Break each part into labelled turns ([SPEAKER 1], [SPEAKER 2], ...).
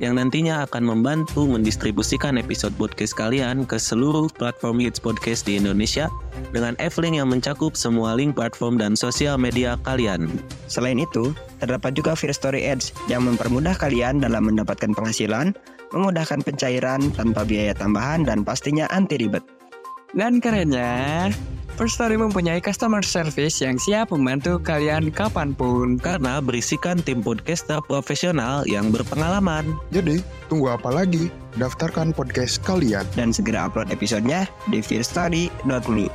[SPEAKER 1] yang nantinya akan membantu mendistribusikan episode podcast kalian ke seluruh platform hits podcast di Indonesia dengan F-Link yang mencakup semua link platform dan sosial media kalian.
[SPEAKER 2] Selain itu, terdapat juga Fear Story Ads yang mempermudah kalian dalam mendapatkan penghasilan, memudahkan pencairan tanpa biaya tambahan dan pastinya anti ribet.
[SPEAKER 3] Dan kerennya, First Story mempunyai customer service yang siap membantu kalian kapanpun.
[SPEAKER 1] Karena berisikan tim podcaster profesional yang berpengalaman.
[SPEAKER 4] Jadi, tunggu apa lagi? Daftarkan podcast kalian.
[SPEAKER 2] Dan segera upload episodenya di fearstory.me.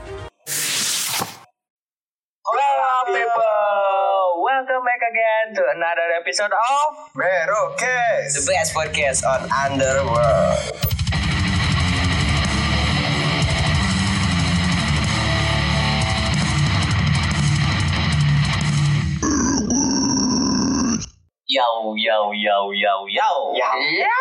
[SPEAKER 5] Hello people, welcome back again to another episode of
[SPEAKER 2] Merokes, the best podcast on Underworld.
[SPEAKER 5] Yow Yow Yow Yow Yow.
[SPEAKER 6] Ya,
[SPEAKER 2] Yow.
[SPEAKER 4] Iya.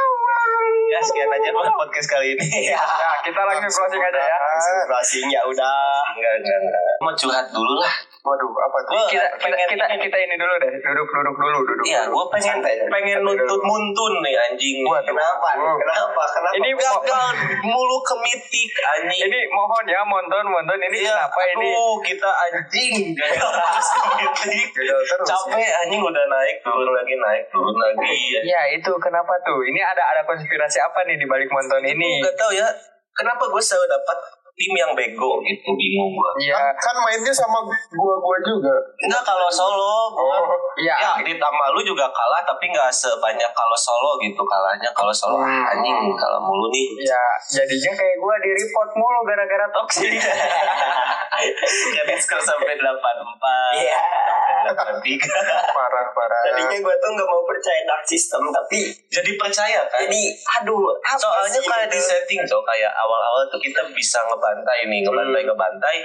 [SPEAKER 5] Ya sekian aja buat podcast kali ini. Ya, kita langsung closing aja ya. Closing ya udah. Enggak enggak. Mau curhat dulu lah.
[SPEAKER 6] Waduh, apa tuh?
[SPEAKER 5] Gua
[SPEAKER 6] kita, kita,
[SPEAKER 5] pengen
[SPEAKER 6] kita,
[SPEAKER 5] ini.
[SPEAKER 6] kita ini dulu deh, duduk, duduk dulu, duduk.
[SPEAKER 5] Iya,
[SPEAKER 6] dulu.
[SPEAKER 5] gue pengen
[SPEAKER 6] Santai aja.
[SPEAKER 5] pengen
[SPEAKER 6] Santai
[SPEAKER 5] nuntut
[SPEAKER 6] dulu. Hmm.
[SPEAKER 5] muntun nih anjing.
[SPEAKER 6] Waduh.
[SPEAKER 5] Kenapa?
[SPEAKER 6] Waduh.
[SPEAKER 5] Kenapa? Kenapa?
[SPEAKER 6] Ini mau-
[SPEAKER 5] gagal mulu ke mitik anjing.
[SPEAKER 6] Ini mohon ya, monton, monton, ini
[SPEAKER 5] Iya,
[SPEAKER 6] kenapa ini?
[SPEAKER 5] aduh, kita anjing gagal terus ke mitik.
[SPEAKER 6] Gagal terus.
[SPEAKER 5] Capek anjing udah naik turun lagi naik turun lagi.
[SPEAKER 6] Ya itu kenapa tuh? Ini ada ada konspirasi apa nih di balik monton ini?
[SPEAKER 5] Gak tau ya Kenapa gue selalu dapat tim yang bego gitu Bingung gue
[SPEAKER 6] Iya,
[SPEAKER 4] Kan mainnya sama gua-gua juga.
[SPEAKER 5] Enggak kalau solo gua-
[SPEAKER 6] iya.
[SPEAKER 5] Ya ditambah lu juga kalah Tapi gak sebanyak kalau solo gitu Kalahnya kalau solo
[SPEAKER 6] Hmm.
[SPEAKER 5] ah, Anjing kalau mulu nih
[SPEAKER 6] Ya, jadinya kayak gua di report mulu gara-gara toksik.
[SPEAKER 5] Jadi skor sampai 84
[SPEAKER 2] Iya.
[SPEAKER 5] Sampai 83
[SPEAKER 6] parah, parah.
[SPEAKER 2] Tadinya gue tuh nggak mau percaya dark system, tapi
[SPEAKER 5] Jadi percaya kan
[SPEAKER 2] jadi aduh. apa
[SPEAKER 5] Soalnya
[SPEAKER 2] sih
[SPEAKER 5] kayak
[SPEAKER 2] gitu?
[SPEAKER 5] di setting tuh Kayak awal-awal tuh kita bisa ngebantai nih
[SPEAKER 2] Hmm.
[SPEAKER 5] Ngebantai-ngebantai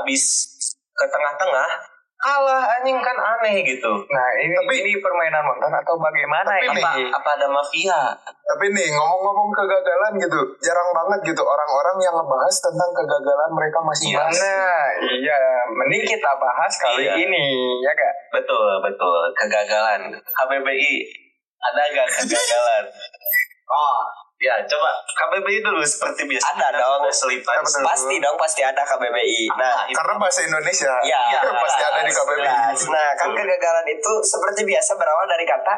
[SPEAKER 5] Abis ke tengah-tengah Kalah anjing kan aneh gitu
[SPEAKER 6] Nah, ini ini permainan monton atau bagaimana
[SPEAKER 5] Tapi
[SPEAKER 6] ini?
[SPEAKER 5] apa, apa ada mafia?
[SPEAKER 4] Tapi nih ngomong-ngomong kegagalan gitu, jarang banget gitu orang-orang yang ngebahas tentang kegagalan mereka
[SPEAKER 5] Iya.
[SPEAKER 4] masing-masing.
[SPEAKER 6] Nah, iya, mending kita bahas kali
[SPEAKER 5] Iya.
[SPEAKER 6] ini, ya gak?
[SPEAKER 5] Betul, betul. Kegagalan. HBBI, ada nggak kegagalan? oh, ya coba KBBI dulu seperti biasa.
[SPEAKER 2] Ah.
[SPEAKER 5] Kan
[SPEAKER 2] Ada dong.
[SPEAKER 5] Selipan.
[SPEAKER 4] Apa tuh?
[SPEAKER 2] Pasti dong pasti ada KBBI. Nah,
[SPEAKER 5] Nah, itu
[SPEAKER 4] Karena bahasa Indonesia
[SPEAKER 5] Iya,
[SPEAKER 2] Ya,
[SPEAKER 4] pasti ada di KBBI.
[SPEAKER 2] jelas. Nah, kan
[SPEAKER 5] Betul.
[SPEAKER 2] kegagalan itu seperti biasa berawal dari kata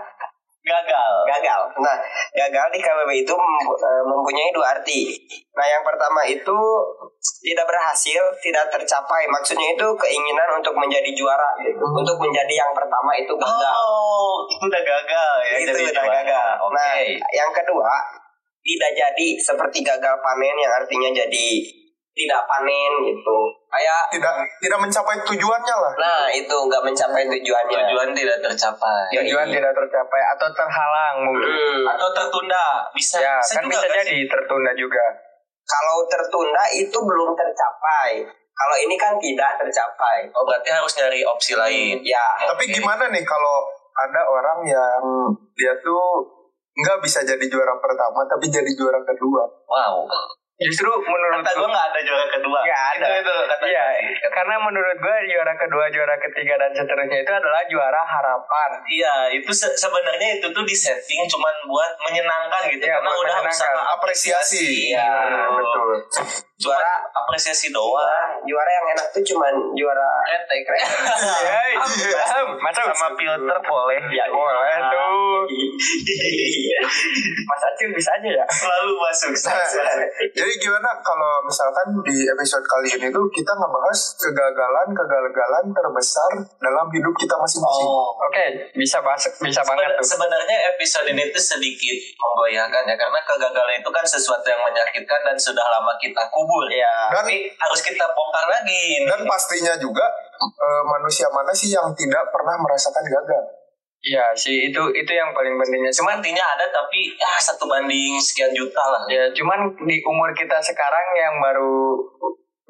[SPEAKER 5] gagal.
[SPEAKER 2] gagal. Nah, gagal di KBBI itu mem- eh, mempunyai dua arti. Nah, yang pertama itu tidak berhasil, tidak tercapai. Maksudnya itu keinginan untuk menjadi juara, gitu. untuk menjadi yang pertama itu gagal.
[SPEAKER 5] Oh, itu udah gagal ya.
[SPEAKER 2] itu
[SPEAKER 4] Gitu,
[SPEAKER 5] jadi
[SPEAKER 2] udah
[SPEAKER 5] juara.
[SPEAKER 2] gagal.
[SPEAKER 5] Oke.
[SPEAKER 2] Nah, yang kedua tidak jadi seperti gagal panen yang artinya jadi tidak panen gitu. Kayak
[SPEAKER 4] Tidak tidak mencapai tujuannya lah.
[SPEAKER 2] nah itu nggak mencapai tujuannya.
[SPEAKER 5] Nah, Tujuan tidak tercapai.
[SPEAKER 2] Ya,
[SPEAKER 6] tujuan
[SPEAKER 2] iya.
[SPEAKER 6] tidak tercapai atau terhalang mungkin.
[SPEAKER 2] Hmm.
[SPEAKER 5] Atau tertunda. Bisa.
[SPEAKER 6] Ya,
[SPEAKER 5] bisa
[SPEAKER 6] kan
[SPEAKER 5] juga
[SPEAKER 6] bisa
[SPEAKER 5] nggak
[SPEAKER 6] jadi
[SPEAKER 5] sih?
[SPEAKER 6] tertunda juga.
[SPEAKER 2] Kalau tertunda itu belum tercapai. Kalau ini kan tidak tercapai.
[SPEAKER 5] Oh, berarti harus nyari opsi lain.
[SPEAKER 2] Ya,
[SPEAKER 4] Tapi gimana nih kalau ada orang yang dia tuh nggak bisa jadi juara pertama tapi jadi juara kedua.
[SPEAKER 5] Wow.
[SPEAKER 6] Justru menurut
[SPEAKER 5] Kata gue
[SPEAKER 6] gua
[SPEAKER 5] nggak ada juara kedua.
[SPEAKER 6] Nggak ada.
[SPEAKER 5] Itu, itu kata
[SPEAKER 6] Iya, karena menurut gua juara kedua, juara ketiga dan seterusnya itu adalah juara harapan.
[SPEAKER 5] Iya, itu se- sebenarnya itu tuh di setting cuman buat menyenangkan gitu
[SPEAKER 6] Iya,
[SPEAKER 5] karena
[SPEAKER 6] buat
[SPEAKER 5] udah
[SPEAKER 6] menyenangkan.
[SPEAKER 5] usaha
[SPEAKER 4] Apresiasi.
[SPEAKER 5] Iya,
[SPEAKER 4] Nah, betul.
[SPEAKER 5] Juara apresiasi doang.
[SPEAKER 2] juara yang enak tuh cuman juara
[SPEAKER 5] Kretek,
[SPEAKER 6] Hei, masa sama filter boleh?
[SPEAKER 5] Iya.
[SPEAKER 6] Ya, iya. boleh
[SPEAKER 2] iya.
[SPEAKER 6] tuh. Mas Acil bisa aja ya?
[SPEAKER 5] Selalu masuk. selalu masuk.
[SPEAKER 4] Jadi gimana kalau misalkan di episode kali ini tuh kita ngebahas kegagalan-kegagalan terbesar dalam hidup kita masing-masing.
[SPEAKER 5] Oh.
[SPEAKER 6] Oke, bisa bahas, bisa banget
[SPEAKER 5] Seben-
[SPEAKER 6] tuh.
[SPEAKER 5] Sebenarnya episode ini tuh sedikit memboyangkan ya karena kegagalan itu kan sesuatu yang menyakitkan dan sudah lama kita kubur.
[SPEAKER 6] Ya,
[SPEAKER 4] Dan
[SPEAKER 5] Tapi harus kita bongkar lagi.
[SPEAKER 4] dan pastinya juga eh, manusia mana sih yang tidak pernah merasakan gagal?
[SPEAKER 6] ya sih itu itu yang paling pentingnya.
[SPEAKER 5] Cuman
[SPEAKER 6] Cuman
[SPEAKER 5] intinya ada tapi ya
[SPEAKER 6] Iya.
[SPEAKER 5] satu banding sekian juta lah.
[SPEAKER 6] ya cuman di umur kita sekarang yang baru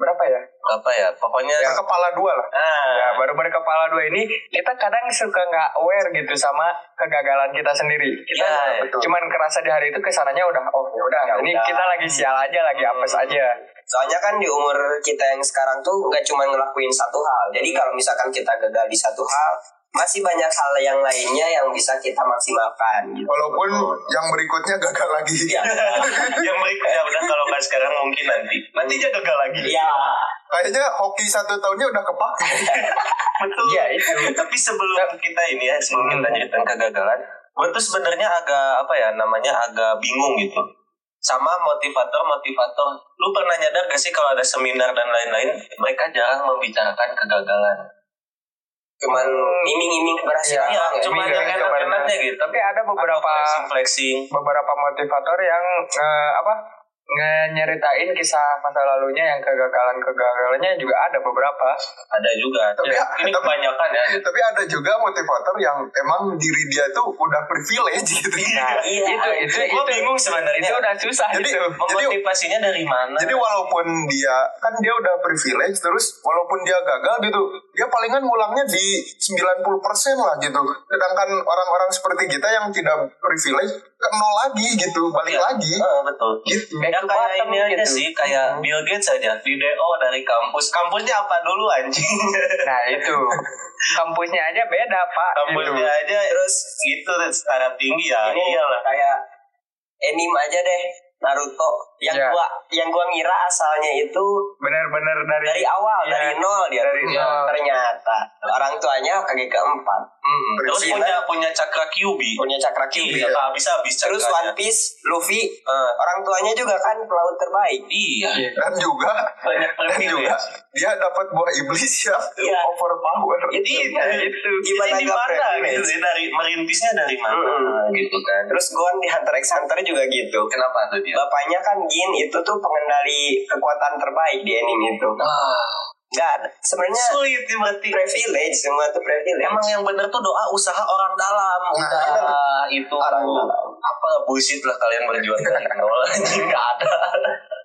[SPEAKER 4] berapa ya?
[SPEAKER 5] apa ya pokoknya
[SPEAKER 4] Yang kepala dua lah.
[SPEAKER 6] Ya,
[SPEAKER 5] nah
[SPEAKER 6] baru berkepala dua ini kita kadang suka nggak aware gitu sama kegagalan kita sendiri. Kita
[SPEAKER 5] Ya,
[SPEAKER 4] betul.
[SPEAKER 6] cuman kerasa di hari itu kesananya udah oh ya udah
[SPEAKER 5] Ya
[SPEAKER 6] ini
[SPEAKER 5] udah.
[SPEAKER 6] kita lagi sial aja lagi apes aja.
[SPEAKER 2] Soalnya kan di umur kita yang sekarang tuh nggak cuma ngelakuin satu hal. Jadi kalau misalkan kita gagal di satu hal, masih banyak hal yang lainnya yang bisa kita maksimalkan. gitu.
[SPEAKER 4] Walaupun yang berikutnya gagal lagi.
[SPEAKER 6] Iya.
[SPEAKER 5] Iya. yang baik ya udah kalau nggak sekarang mungkin nanti nanti aja gagal lagi
[SPEAKER 2] Iya.
[SPEAKER 4] Kayaknya hoki satu tahunnya udah kepakai.
[SPEAKER 5] betul
[SPEAKER 6] Iya, Hmm. itu.
[SPEAKER 5] tapi sebelum kita ini ya sebelum kita lanjutkan kegagalan gue tuh sebenarnya agak apa ya namanya agak bingung gitu sama motivator motivator lu pernah nyadar gak sih kalau ada seminar dan lain-lain mereka jarang membicarakan kegagalan
[SPEAKER 2] Cuman iming-iming keberhasilan.
[SPEAKER 5] iya
[SPEAKER 2] doang ya.
[SPEAKER 5] cuma
[SPEAKER 6] Hmm. iya,
[SPEAKER 5] yang
[SPEAKER 6] iya,
[SPEAKER 5] enak-enaknya gitu
[SPEAKER 6] Tapi ada beberapa
[SPEAKER 5] flexing flexing
[SPEAKER 6] beberapa motivator yang eh, apa nge- nyeritain kisah masa lalunya yang kegagalan-kegagalannya juga ada beberapa.
[SPEAKER 5] ada juga
[SPEAKER 4] Tapi-
[SPEAKER 5] Ya, ini
[SPEAKER 4] tapi-
[SPEAKER 5] kebanyakan
[SPEAKER 6] Iya,
[SPEAKER 5] ya gitu.
[SPEAKER 4] Tapi ada juga motivator yang emang diri dia tuh udah privilege gitu.
[SPEAKER 6] Nah,
[SPEAKER 2] Iya.
[SPEAKER 6] itu itu
[SPEAKER 5] Gua
[SPEAKER 6] itu
[SPEAKER 5] bingung sebenarnya.
[SPEAKER 6] Itu udah susah
[SPEAKER 4] Jadi-
[SPEAKER 6] itu.
[SPEAKER 5] memotivasinya dari mana
[SPEAKER 4] Jadi Nah, walaupun dia kan dia udah privilege terus walaupun dia gagal gitu, dia palingan ngulangnya di 90% lah gitu. Sedangkan orang-orang seperti kita yang tidak privilege ke nol lagi gitu, balik
[SPEAKER 5] Iya.
[SPEAKER 4] lagi
[SPEAKER 5] Heeh, betul
[SPEAKER 4] gitu.
[SPEAKER 6] Back
[SPEAKER 5] Ya
[SPEAKER 6] to
[SPEAKER 5] kayak
[SPEAKER 6] bottom
[SPEAKER 5] ini aja
[SPEAKER 6] gitu.
[SPEAKER 5] sih, kayak Bill Gates aja, di DO dari kampus. Kampusnya apa dulu anjing?
[SPEAKER 6] Nah itu kampusnya aja beda pak.
[SPEAKER 5] kampusnya
[SPEAKER 6] gitu.
[SPEAKER 5] aja terus gitu startup tinggi ya.
[SPEAKER 2] Ini
[SPEAKER 5] Iyalah.
[SPEAKER 2] kayak anime aja deh. Naruto yang
[SPEAKER 6] Iya.
[SPEAKER 2] gua yang gua ngira asalnya itu
[SPEAKER 6] Bener-bener dari,
[SPEAKER 2] dari awal
[SPEAKER 6] Iya.
[SPEAKER 2] dari nol dia
[SPEAKER 6] Dari
[SPEAKER 2] Iya.
[SPEAKER 6] nol.
[SPEAKER 2] ternyata orang tuanya kaki keempat
[SPEAKER 5] Mm, Terus
[SPEAKER 2] Terus
[SPEAKER 5] punya punya cakra Kyubi.
[SPEAKER 2] punya cakra
[SPEAKER 5] Kyubi
[SPEAKER 2] kyubi
[SPEAKER 5] apa habis habis Hmm.
[SPEAKER 2] terus One Piece Luffy orang tuanya juga kan pelaut terbaik
[SPEAKER 5] Iya.
[SPEAKER 4] Dan juga
[SPEAKER 5] Banyak
[SPEAKER 4] dan juga
[SPEAKER 5] privilege.
[SPEAKER 4] dia dapat buah iblis ya. yang
[SPEAKER 2] Iya.
[SPEAKER 4] overpower.
[SPEAKER 2] itu
[SPEAKER 5] Iya,
[SPEAKER 2] itu
[SPEAKER 5] Jadi
[SPEAKER 2] gimana
[SPEAKER 5] di
[SPEAKER 2] nggak
[SPEAKER 5] mana gitu?
[SPEAKER 2] privilege?
[SPEAKER 5] Jadi dari merintisnya dari mana
[SPEAKER 2] Mm.
[SPEAKER 5] gitu kan?
[SPEAKER 2] terus Gon di Hunter x Hunter juga gitu
[SPEAKER 5] Kenapa tuh dia?
[SPEAKER 2] bapaknya kan Gin itu tuh pengendali kekuatan terbaik di anime itu nggak ada- sebenarnya
[SPEAKER 5] Oh. Ah. Sulit ya berarti.
[SPEAKER 2] privilege semua tuh privilege
[SPEAKER 5] Emang yang bener tuh doa usaha orang dalam.
[SPEAKER 4] Nah,
[SPEAKER 5] Udah itu
[SPEAKER 2] Orang dalam.
[SPEAKER 5] apa bullshit lah kalian berjuang dari nol anjing nggak ada.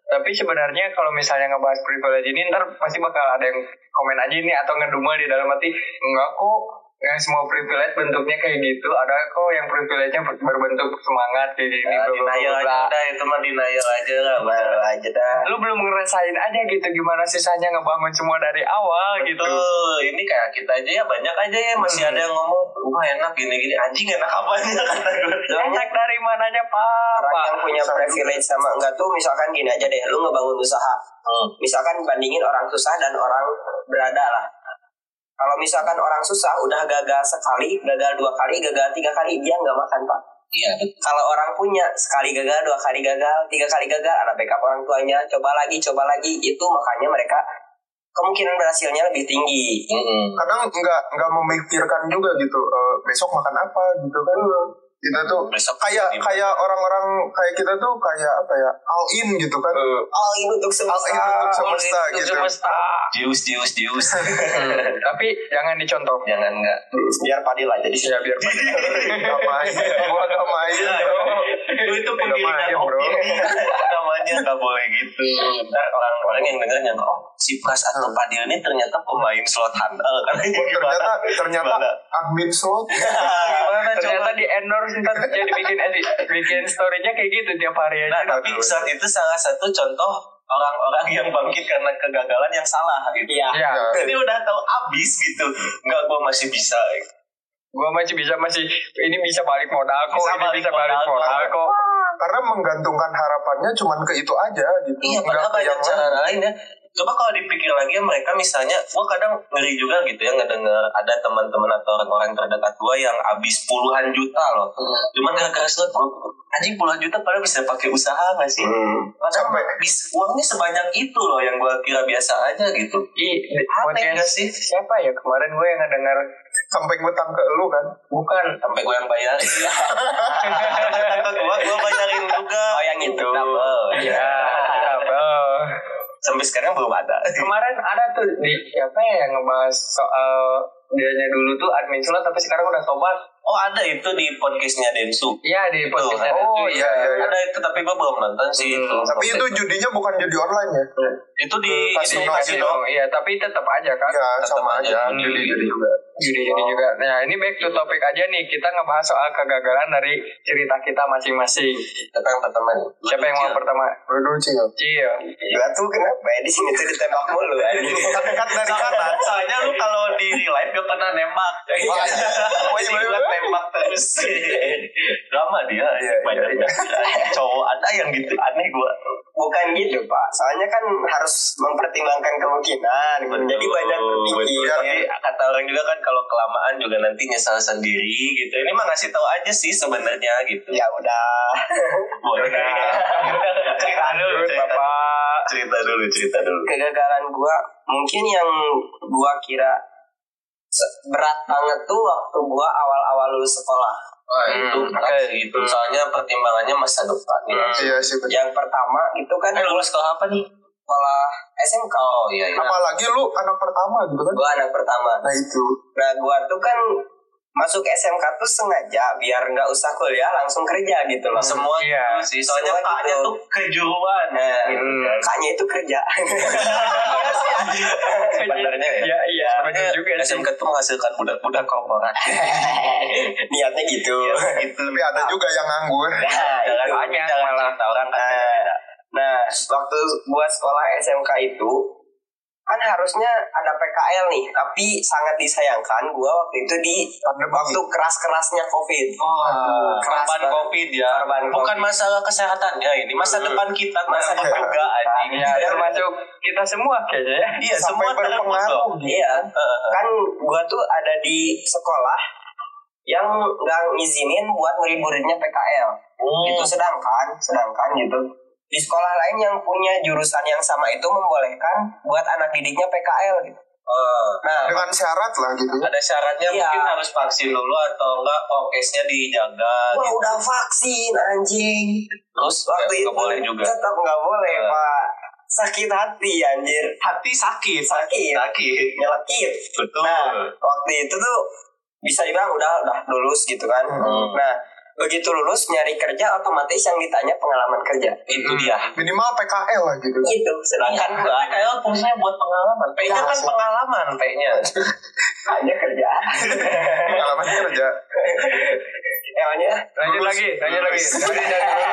[SPEAKER 6] Tapi sebenarnya kalau misalnya ngebahas privilege ini ntar pasti bakal ada yang komen aja ini atau ngedumel di dalam hati enggak kok yang semua privilege bentuknya kayak gitu ada kok yang privilege-nya berbentuk semangat kayak gini
[SPEAKER 5] Nah,
[SPEAKER 6] bla, bla, bla,
[SPEAKER 5] denial
[SPEAKER 6] bla,
[SPEAKER 5] aja
[SPEAKER 6] bla.
[SPEAKER 5] dah itu mah denial aja lah.
[SPEAKER 2] baru aja dah
[SPEAKER 6] lu belum ngerasain aja gitu gimana susahnya ngebangun semua dari awal gitu
[SPEAKER 5] Betul, ini kayak kita aja ya banyak aja ya masih ada yang ngomong rumah enak gini gini anjing enak apanya kata gue.
[SPEAKER 6] enak dari mananya pak
[SPEAKER 2] orang
[SPEAKER 6] Pak.
[SPEAKER 2] yang punya privilege sama enggak tuh misalkan gini aja deh lu ngebangun usaha
[SPEAKER 5] Hmm.
[SPEAKER 2] misalkan bandingin orang susah dan orang berada lah kalau misalkan orang susah udah gagal sekali gagal dua kali gagal tiga kali dia nggak makan pak
[SPEAKER 5] Iya betul.
[SPEAKER 2] kalau orang punya sekali gagal dua kali gagal tiga kali gagal ada backup orang tuanya coba lagi coba lagi itu makanya mereka kemungkinan berhasilnya lebih tinggi
[SPEAKER 5] Hmm.
[SPEAKER 4] Kadang nggak nggak memikirkan juga gitu eh, besok makan apa gitu kan. Kita tuh
[SPEAKER 5] Besok jadi-
[SPEAKER 4] kayak kayak orang-orang kayak kita tuh kayak apa ya all in gitu kan
[SPEAKER 5] Eh,
[SPEAKER 2] all in untuk
[SPEAKER 4] all
[SPEAKER 2] semesta
[SPEAKER 4] in untuk semesta
[SPEAKER 6] Itu
[SPEAKER 4] gitu
[SPEAKER 6] semesta
[SPEAKER 5] Jius jius jius.
[SPEAKER 6] tapi jangan dicontoh
[SPEAKER 5] Jangan enggak.
[SPEAKER 2] biar padil aja di sini
[SPEAKER 6] ya biar pada
[SPEAKER 4] gak main gua gak main
[SPEAKER 5] Iya,
[SPEAKER 4] bro
[SPEAKER 5] Lu Oh, itu pemilihan
[SPEAKER 4] main, bro.
[SPEAKER 5] opini. Namanya nggak boleh gitu. Ntar orang-orang yang denger yang oh si Pras atau Padil ini ternyata pemain slot handal kan.
[SPEAKER 4] ternyata ternyata
[SPEAKER 5] Gimana?
[SPEAKER 4] admin slot
[SPEAKER 5] Gimana coba?
[SPEAKER 6] ternyata di endorse ntar jadi bikin bikin storynya kayak gitu tiap hari aja
[SPEAKER 5] Nah, tapi saat itu salah satu contoh orang-orang yang bangkit karena kegagalan yang salah gitu.
[SPEAKER 2] Iya.
[SPEAKER 6] ya
[SPEAKER 5] Jadi udah tahu abis gitu. Enggak gua masih bisa. gitu.
[SPEAKER 6] gua masih bisa masih ini bisa balik modal kok
[SPEAKER 5] Bisa
[SPEAKER 6] ini
[SPEAKER 5] balik
[SPEAKER 6] bisa balik
[SPEAKER 5] modal,
[SPEAKER 6] modal kok
[SPEAKER 4] karena menggantungkan harapannya cuman ke itu aja gitu
[SPEAKER 5] Iya,
[SPEAKER 4] nggak
[SPEAKER 5] padahal
[SPEAKER 4] ke
[SPEAKER 5] banyak
[SPEAKER 4] yang
[SPEAKER 5] cara
[SPEAKER 4] lain
[SPEAKER 5] lain ya. Coba kalau dipikir lagi ya mereka misalnya, gua kadang ngeri juga gitu ya ngedenger ada teman-teman atau orang-orang terdekat gua yang abis puluhan juta loh. Cuman gara-gara slot, anjing puluhan juta padahal bisa pakai usaha gak sih?
[SPEAKER 4] Hmm.
[SPEAKER 5] Padahal
[SPEAKER 4] Capek.
[SPEAKER 5] bis- uangnya sebanyak itu loh yang gua kira biasa aja gitu.
[SPEAKER 6] Ih,
[SPEAKER 5] Aneh
[SPEAKER 6] podcast
[SPEAKER 5] gak sih?
[SPEAKER 6] siapa ya kemarin gue yang ngedengar
[SPEAKER 4] sampai ngutang ke lu kan
[SPEAKER 6] bukan
[SPEAKER 5] sampai gue yang bayarin kata gue gue bayarin juga Gitu.
[SPEAKER 2] Oh, yang itu.
[SPEAKER 5] Double.
[SPEAKER 6] ya double.
[SPEAKER 5] sampai sekarang belum ada
[SPEAKER 6] kemarin ada tuh di siapa ya yang ngebahas soal dianya dulu tuh admin slot tapi sekarang udah tobat
[SPEAKER 1] Oh ada itu di podcastnya Densu.
[SPEAKER 6] Iya di podcastnya
[SPEAKER 1] Tuh,
[SPEAKER 4] oh,
[SPEAKER 6] Densu, iya.
[SPEAKER 4] iya, iya, iya.
[SPEAKER 1] Ada itu tapi gue belum nonton sih.
[SPEAKER 6] Hmm,
[SPEAKER 1] itu.
[SPEAKER 4] Tapi itu judinya bukan judi online ya?
[SPEAKER 1] itu di
[SPEAKER 4] ke
[SPEAKER 1] itu
[SPEAKER 4] kasino
[SPEAKER 1] kasih
[SPEAKER 4] gitu.
[SPEAKER 1] dong.
[SPEAKER 6] Iya, tapi tetap aja kan.
[SPEAKER 4] Iya,
[SPEAKER 1] tetap
[SPEAKER 4] sama
[SPEAKER 1] aja.
[SPEAKER 4] aja.
[SPEAKER 5] Hmm.
[SPEAKER 4] Judi-judi juga.
[SPEAKER 6] Judi-judi juga. Nah, ini back to topic aja nih. Kita ngebahas soal kegagalan dari cerita kita masing-masing.
[SPEAKER 1] Siapa yang pertama?
[SPEAKER 6] Siapa yang mau pertama?
[SPEAKER 4] Dulu cil.
[SPEAKER 6] Cio.
[SPEAKER 5] Gila tuh kenapa ya di sini tuh ditembak mulu anjing.
[SPEAKER 4] Tapi kan dari kata.
[SPEAKER 1] Soalnya- Iya. Soalnya lu kalau di live gak pernah nembak.
[SPEAKER 4] Oh, iya. Oh, iya,
[SPEAKER 1] Jadi
[SPEAKER 4] iya.
[SPEAKER 1] gua tembak terus.
[SPEAKER 5] Iya,
[SPEAKER 1] Drama dia.
[SPEAKER 4] Iya,
[SPEAKER 1] banyak
[SPEAKER 4] iya,
[SPEAKER 1] Cowok ada yang gitu aneh gua.
[SPEAKER 5] Bukan gitu Pak. Soalnya kan harus mempertimbangkan kemungkinan. Jadi banyak
[SPEAKER 1] Betul.
[SPEAKER 5] berpikir.
[SPEAKER 1] Tapi kata orang juga kan kalau kelamaan juga nanti nyesal sendiri gitu. Ini mah ngasih tahu aja sih sebenarnya gitu.
[SPEAKER 5] Ya udah.
[SPEAKER 1] Boleh. cerita dulu,
[SPEAKER 6] Terus,
[SPEAKER 1] cerita dulu.
[SPEAKER 6] Bapak.
[SPEAKER 1] Cerita dulu, cerita dulu.
[SPEAKER 5] kegagalan gua mungkin yang gua kira se- berat banget tuh waktu gua awal-awal lulus sekolah.
[SPEAKER 1] Wah, Nah, itu
[SPEAKER 6] Hmm,
[SPEAKER 1] berat
[SPEAKER 6] oke.
[SPEAKER 1] sih, itu soalnya pertimbangannya masa depan ya.
[SPEAKER 4] Iya sih. bener.
[SPEAKER 5] Hmm. Yang pertama itu kan
[SPEAKER 1] Eh, lulus sekolah apa nih?
[SPEAKER 5] sekolah SMK.
[SPEAKER 1] Oh iya iya.
[SPEAKER 4] Apalagi lu anak pertama gitu kan?
[SPEAKER 5] Gua anak pertama.
[SPEAKER 4] Nah itu.
[SPEAKER 5] Nah, gua tuh kan masuk SMK tuh sengaja biar nggak usah kuliah langsung kerja gitu loh.
[SPEAKER 1] Semua
[SPEAKER 6] Iya.
[SPEAKER 1] gitu sih, soalnya
[SPEAKER 5] Semua
[SPEAKER 1] paknya
[SPEAKER 5] gitu.
[SPEAKER 1] tuh kejuruan. Ya.
[SPEAKER 6] Hmm.
[SPEAKER 5] Kakaknya itu kerja.
[SPEAKER 1] Sebenarnya ya.
[SPEAKER 6] Iya, iya. Bener
[SPEAKER 5] Eh,
[SPEAKER 6] juga
[SPEAKER 1] Sebenarnya
[SPEAKER 6] sih.
[SPEAKER 1] SMK tuh menghasilkan budak-budak korporatif.
[SPEAKER 5] Niatnya gitu.
[SPEAKER 1] gitu.
[SPEAKER 4] Tapi ada juga yang nganggur.
[SPEAKER 5] Nah, itu.
[SPEAKER 1] Jangan
[SPEAKER 6] Banyak
[SPEAKER 1] jangan
[SPEAKER 6] malah.
[SPEAKER 1] cerita orang kan beda-beda.
[SPEAKER 5] Nah, waktu gua sekolah SMK itu kan harusnya ada PKL nih, tapi sangat disayangkan gua waktu itu di waktu keras-kerasnya COVID.
[SPEAKER 1] Wah,
[SPEAKER 5] keras
[SPEAKER 1] korban
[SPEAKER 5] banget.
[SPEAKER 1] covid ya.
[SPEAKER 5] Korban
[SPEAKER 1] Bukan
[SPEAKER 5] COVID.
[SPEAKER 1] masalah kesehatannya ini, masa
[SPEAKER 5] Hmm.
[SPEAKER 1] depan kita, masa
[SPEAKER 5] Masa
[SPEAKER 1] depan
[SPEAKER 5] depan.
[SPEAKER 1] juga anjing.
[SPEAKER 6] Ya, termasuk kita semua kayaknya ya.
[SPEAKER 1] Iya, semua
[SPEAKER 4] Sampai berpengaruh.
[SPEAKER 1] terpengaruh.
[SPEAKER 5] Iya,
[SPEAKER 1] Heeh.
[SPEAKER 5] kan gua tuh ada di sekolah yang nggak ngizinin buat murid-muridnya PKL. Itu Gitu, sedangkan, sedangkan gitu di sekolah lain yang punya jurusan yang sama itu membolehkan buat anak didiknya PKL gitu. Nah,
[SPEAKER 4] Dengan syarat lah gitu.
[SPEAKER 1] ada syaratnya
[SPEAKER 5] Iya.
[SPEAKER 1] Ya, mungkin harus vaksin dulu atau enggak prokesnya dijaga
[SPEAKER 5] Wah
[SPEAKER 1] gitu.
[SPEAKER 5] udah vaksin anjing.
[SPEAKER 1] terus
[SPEAKER 5] Waktu
[SPEAKER 1] ya,
[SPEAKER 5] itu
[SPEAKER 1] nggak boleh juga
[SPEAKER 5] Tetap nggak boleh
[SPEAKER 1] Eh.
[SPEAKER 5] pak. Sakit hati anjir.
[SPEAKER 1] hati sakit
[SPEAKER 5] Sakit.
[SPEAKER 1] sakit
[SPEAKER 5] Nyelekit.
[SPEAKER 1] betul
[SPEAKER 5] Nah waktu itu tuh bisa dibilang udah udah lulus gitu kan.
[SPEAKER 1] Hmm.
[SPEAKER 5] Nah begitu lulus nyari kerja otomatis yang ditanya pengalaman kerja. Hmm.
[SPEAKER 1] itu dia
[SPEAKER 4] Minimal PKL lah gitu.
[SPEAKER 5] Gitu.
[SPEAKER 1] kan
[SPEAKER 5] Sedangkan gua
[SPEAKER 1] PKL fungsinya buat pengalaman P-nya kan
[SPEAKER 5] Langsung.
[SPEAKER 1] pengalaman P-nya
[SPEAKER 5] hanya kerja.
[SPEAKER 4] Pengalaman kerja.
[SPEAKER 5] Emangnya
[SPEAKER 6] Lanjut
[SPEAKER 4] Lulus.
[SPEAKER 6] lagi, lanjut lagi. Dari dari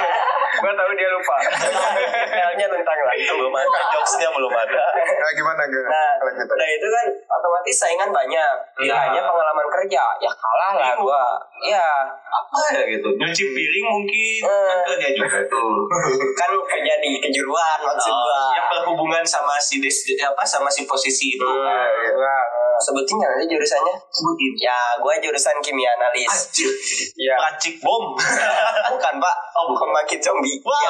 [SPEAKER 6] Gue tahu dia
[SPEAKER 1] Iya,
[SPEAKER 6] lupa.
[SPEAKER 5] Detailnya tentang lagi.
[SPEAKER 1] belum ada jokesnya belum ada
[SPEAKER 4] Nah gimana gak?
[SPEAKER 5] Nah,
[SPEAKER 4] Kalau gitu.
[SPEAKER 5] udah itu kan otomatis saingan banyak. Ditanya
[SPEAKER 1] Iya.
[SPEAKER 5] pengalaman kerja, ya kalah lah
[SPEAKER 1] Bingung.
[SPEAKER 5] gua. Iya,
[SPEAKER 1] apa ya gitu nyuci piring mungkin
[SPEAKER 5] Eh.
[SPEAKER 1] kan kerja juga tuh
[SPEAKER 5] kan kerja di kejuruan maksud
[SPEAKER 1] Oh,
[SPEAKER 5] gua.
[SPEAKER 1] yang berhubungan sama si des, apa sama si posisi itu
[SPEAKER 5] Hmm.
[SPEAKER 6] Ah,
[SPEAKER 5] Sebutin nggak sih jurusannya? Sebutin. Ya, gua jurusan kimia analis.
[SPEAKER 1] Anjir,
[SPEAKER 6] Iya.
[SPEAKER 1] racik bom.
[SPEAKER 5] bukan, Pak.
[SPEAKER 1] Oh, bukan.
[SPEAKER 5] Pembangkit zombie.
[SPEAKER 1] Wah.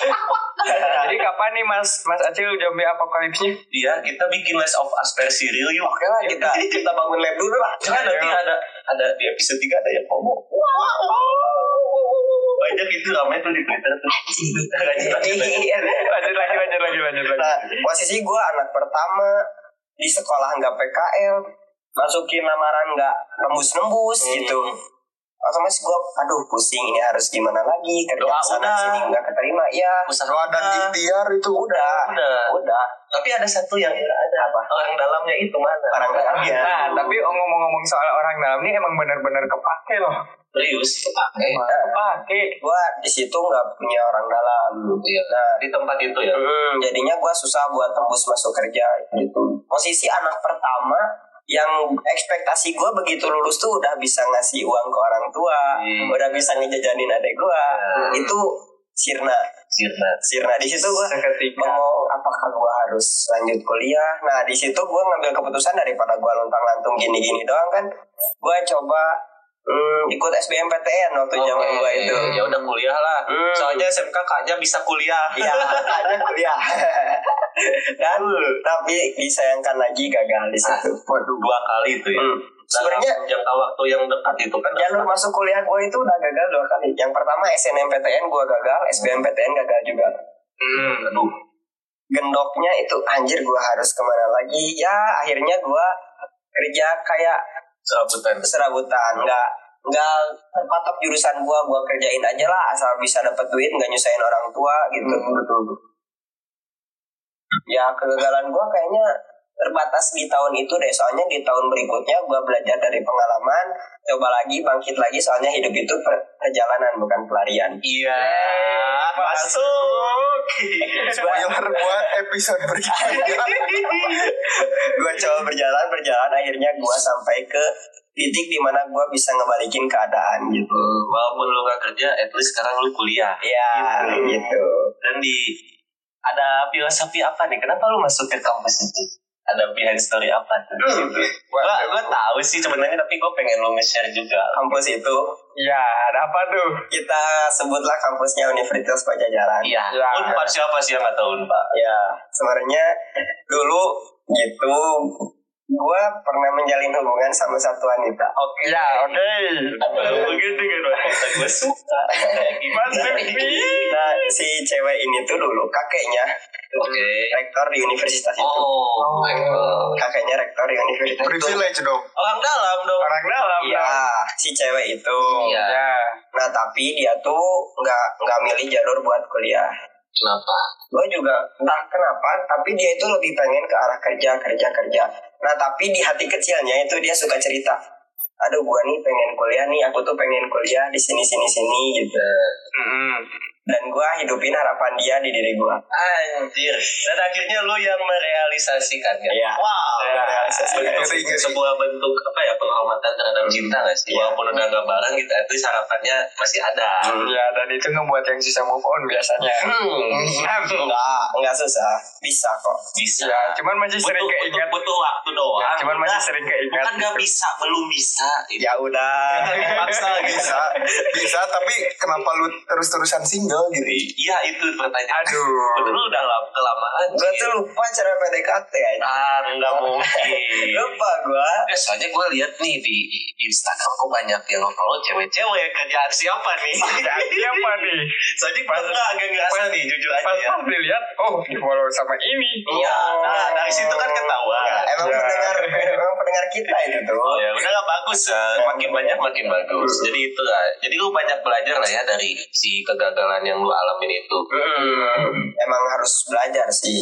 [SPEAKER 5] Ya.
[SPEAKER 6] Jadi kapan nih Mas Mas Acil zombie apokalipsnya?
[SPEAKER 1] Iya, kita bikin less of us versi real yuk.
[SPEAKER 5] Oke lah, kita kita bangun lab dulu lah.
[SPEAKER 1] Kan nanti ada ada di episode 3 ada yang ngomong. Banyak itu ramai tuh di Twitter tuh. Lanjut, lanjut, lanjut.
[SPEAKER 6] Lanjut lagi, lanjut lagi, lanjut lagi.
[SPEAKER 5] Nah, posisi gue anak pertama di sekolah nggak PKL, masukin lamaran nggak nembus-nembus
[SPEAKER 1] Hmm.
[SPEAKER 5] gitu. Otomatis gue, aduh pusing ini harus gimana lagi kerja
[SPEAKER 1] Doa
[SPEAKER 5] sana
[SPEAKER 1] udah.
[SPEAKER 5] sini nggak keterima ya.
[SPEAKER 1] Usaha
[SPEAKER 4] Doa dan
[SPEAKER 1] udah.
[SPEAKER 4] ikhtiar itu
[SPEAKER 5] Udah,
[SPEAKER 1] Udah.
[SPEAKER 5] udah.
[SPEAKER 1] Tapi ada satu yang ada apa? Orang dalamnya itu mana?
[SPEAKER 5] Orang dalamnya.
[SPEAKER 1] iya.
[SPEAKER 6] Nah, tapi ngomong-ngomong soal orang dalam ini emang benar-benar kepake loh.
[SPEAKER 1] serius.
[SPEAKER 6] Kepake.
[SPEAKER 5] Gue Iya. di situ nggak punya orang dalam.
[SPEAKER 1] Iya.
[SPEAKER 5] Nah,
[SPEAKER 1] Di tempat itu ya.
[SPEAKER 5] jadinya gue susah buat tembus masuk kerja gitu. Posisi anak pertama yang ekspektasi gue begitu lulus tuh udah bisa ngasih uang ke orang tua,
[SPEAKER 1] Hmm.
[SPEAKER 5] udah bisa ngejajanin adek gue. Itu sirna,
[SPEAKER 1] Sirna.
[SPEAKER 5] sirna di situ gue
[SPEAKER 6] Seketika.
[SPEAKER 5] mau apakah gue harus lanjut kuliah? Nah di situ gue ngambil keputusan daripada gue lontang lantung gini gini doang kan, gue coba hmm, ikut SBMPTN waktu zaman
[SPEAKER 1] Oke.
[SPEAKER 5] gue itu.
[SPEAKER 1] Ya udah kuliah lah.
[SPEAKER 5] Hmm.
[SPEAKER 1] Soalnya SMK kaknya bisa kuliah.
[SPEAKER 5] Iya, ada kuliah. Dan tapi disayangkan lagi gagal di situ.
[SPEAKER 4] Waduh.
[SPEAKER 1] Ah, Dua kali itu ya.
[SPEAKER 5] Hmm. Sebenarnya
[SPEAKER 1] Dalam jangka waktu yang dekat itu kan
[SPEAKER 5] jalur masuk kuliah gue itu udah gagal dua kali. Yang pertama SNMPTN gue gagal, SBMPTN gagal juga.
[SPEAKER 1] Hmm, aduh.
[SPEAKER 5] Gendoknya itu anjir gue harus kemana lagi? Ya akhirnya gue kerja kayak serabutan
[SPEAKER 2] serabutan nggak nggak terpatok jurusan gua gua kerjain aja lah asal bisa dapet duit nggak nyusahin orang tua gitu
[SPEAKER 5] Hmm,
[SPEAKER 2] ya kegagalan gua kayaknya terbatas di tahun itu deh soalnya di tahun berikutnya gua belajar dari pengalaman coba lagi bangkit lagi soalnya hidup itu per- perjalanan bukan pelarian Eh,
[SPEAKER 5] iya
[SPEAKER 6] Yeay,
[SPEAKER 5] masuk
[SPEAKER 4] Spoiler buat episode berikutnya.
[SPEAKER 2] gue coba berjalan berjalan akhirnya gua sampai ke titik dimana gua bisa ngebalikin keadaan gitu
[SPEAKER 5] gitu walaupun lu gak kerja at least sekarang lu kuliah
[SPEAKER 2] ya
[SPEAKER 5] Gitu.
[SPEAKER 2] gitu
[SPEAKER 5] dan di ada filosofi apa nih kenapa lu masuk ke kampus itu ada behind story apa tuh di
[SPEAKER 2] Hmm.
[SPEAKER 5] situ? Gua, gua tahu sih sebenarnya tapi gua pengen lu nge-share juga.
[SPEAKER 2] kampus itu
[SPEAKER 6] Ya, ada apa tuh?
[SPEAKER 2] kita sebutlah kampusnya Universitas Pajajaran Nah,
[SPEAKER 5] Iya.
[SPEAKER 6] Ya.
[SPEAKER 5] Unpad siapa sih yang nggak tahu Unpad?
[SPEAKER 2] ya sebenarnya dulu gitu gua pernah menjalin hubungan sama satu wanita
[SPEAKER 5] Oke.
[SPEAKER 6] Ya, oke.
[SPEAKER 5] Aduh, begitu kan wanita gue suka. Kayak gimana?
[SPEAKER 6] Masuk nih.
[SPEAKER 2] nah si cewek ini tuh dulu kakeknya
[SPEAKER 5] Oke.
[SPEAKER 2] rektor di universitas itu
[SPEAKER 5] Oh,
[SPEAKER 6] Oh.
[SPEAKER 2] kakeknya rektor di universitas itu
[SPEAKER 4] Privilege dong.
[SPEAKER 5] orang dalam dong.
[SPEAKER 6] Orang dalam.
[SPEAKER 2] Iya, si cewek itu.
[SPEAKER 5] Iya.
[SPEAKER 6] dong. Ya.
[SPEAKER 2] Nah tapi dia tuh nggak nggak milih jalur buat kuliah.
[SPEAKER 5] Kenapa?
[SPEAKER 2] Gue juga entah kenapa, tapi dia itu lebih pengen ke arah kerja kerja kerja. Nah tapi di hati kecilnya itu dia suka cerita. Aduh gua nih pengen kuliah nih, aku tuh pengen kuliah di sini sini sini gitu.
[SPEAKER 6] Mm-mm.
[SPEAKER 2] Dan gua hidupin harapan dia di diri gua.
[SPEAKER 5] Anjir. Dan akhirnya lu yang merealisasikannya.
[SPEAKER 2] Iya.
[SPEAKER 5] Wow.
[SPEAKER 2] Iya, realisasikan.
[SPEAKER 5] Itu
[SPEAKER 4] Ngeri, ngeri.
[SPEAKER 5] sebuah bentuk apa ya penghormatan terhadap cinta nggak sih?
[SPEAKER 2] Iya.
[SPEAKER 5] Walaupun udah nggak bareng gitu, itu harapannya masih ada.
[SPEAKER 2] Hmm.
[SPEAKER 5] Ya.
[SPEAKER 6] Ya, dan itu ngebuat yang susah move on biasanya.
[SPEAKER 5] Hmm.
[SPEAKER 2] Enggak, enggak susah, bisa kok.
[SPEAKER 5] Bisa.
[SPEAKER 6] Ya, cuman masih
[SPEAKER 5] butuh,
[SPEAKER 6] sering
[SPEAKER 5] butuh,
[SPEAKER 6] keingat.
[SPEAKER 5] butuh waktu
[SPEAKER 2] Iya,
[SPEAKER 5] doang.
[SPEAKER 6] Ya, cuman masih
[SPEAKER 5] Udah.
[SPEAKER 6] sering keingat.
[SPEAKER 5] Bukan nggak bisa, belum bisa.
[SPEAKER 2] gitu.
[SPEAKER 5] Gitu.
[SPEAKER 2] Ya udah.
[SPEAKER 5] Paksa gitu.
[SPEAKER 4] Bisa, bisa. Tapi kenapa lu terus-terusan single gitu?
[SPEAKER 5] Iya itu pertanyaan.
[SPEAKER 6] Aduh.
[SPEAKER 5] Bener, lu udah lama kelamaan.
[SPEAKER 2] Gua tuh lupa cara PDKT aja.
[SPEAKER 5] Ah, nggak mungkin.
[SPEAKER 2] Lupa gua.
[SPEAKER 5] Eh, soalnya gue lihat nih di Instagram kok banyak yang follow cewek-cewek kerjaan siapa nih?
[SPEAKER 6] Ya, siapa nih?
[SPEAKER 5] Iya. soalnya gue nggak agak ngerasa nih jujur aja
[SPEAKER 6] Pas
[SPEAKER 5] ya.
[SPEAKER 6] pas dilihat, oh di follow sama ini. Oh.
[SPEAKER 5] Iya, nah dari situ kan
[SPEAKER 4] Iya,
[SPEAKER 5] ketahuan.
[SPEAKER 2] Emang
[SPEAKER 6] Ya.
[SPEAKER 2] pendengar emang pendengar kita itu
[SPEAKER 4] gitu.
[SPEAKER 2] tuh.
[SPEAKER 5] Oh ya udah lah bagus ya. Makin banyak makin bagus. Jadi itu lah. Jadi lu banyak belajar lah ya dari si kegagalan yang lu alamin itu.
[SPEAKER 6] Mm.
[SPEAKER 2] Emang harus belajar sih.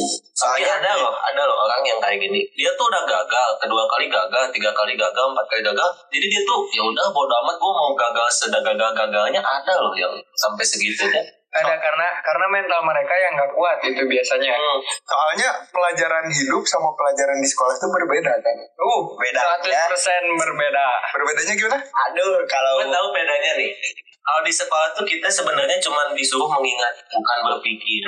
[SPEAKER 2] Soalnya
[SPEAKER 5] Soalnya Iya, ada loh, ada loh orang yang kayak gini. Dia tuh udah gagal, kedua kali gagal, tiga kali gagal, empat kali gagal. Jadi dia tuh ya udah bodo amat gua mau gagal segagal-gagalnya ada loh yang sampai ya. segitunya.
[SPEAKER 6] Ada karena karena mental mereka yang nggak kuat itu biasanya.
[SPEAKER 5] Hmm.
[SPEAKER 4] Soalnya pelajaran hidup sama pelajaran di sekolah itu berbeda kan?
[SPEAKER 6] Uh,
[SPEAKER 2] Beda,
[SPEAKER 6] 100%
[SPEAKER 5] ya.
[SPEAKER 6] berbeda.
[SPEAKER 4] Berbedanya gimana?
[SPEAKER 2] aduh kalau
[SPEAKER 5] Gue tahu bedanya nih. Kalau di sekolah tuh kita sebenarnya cuma disuruh mengingat, bukan berpikir.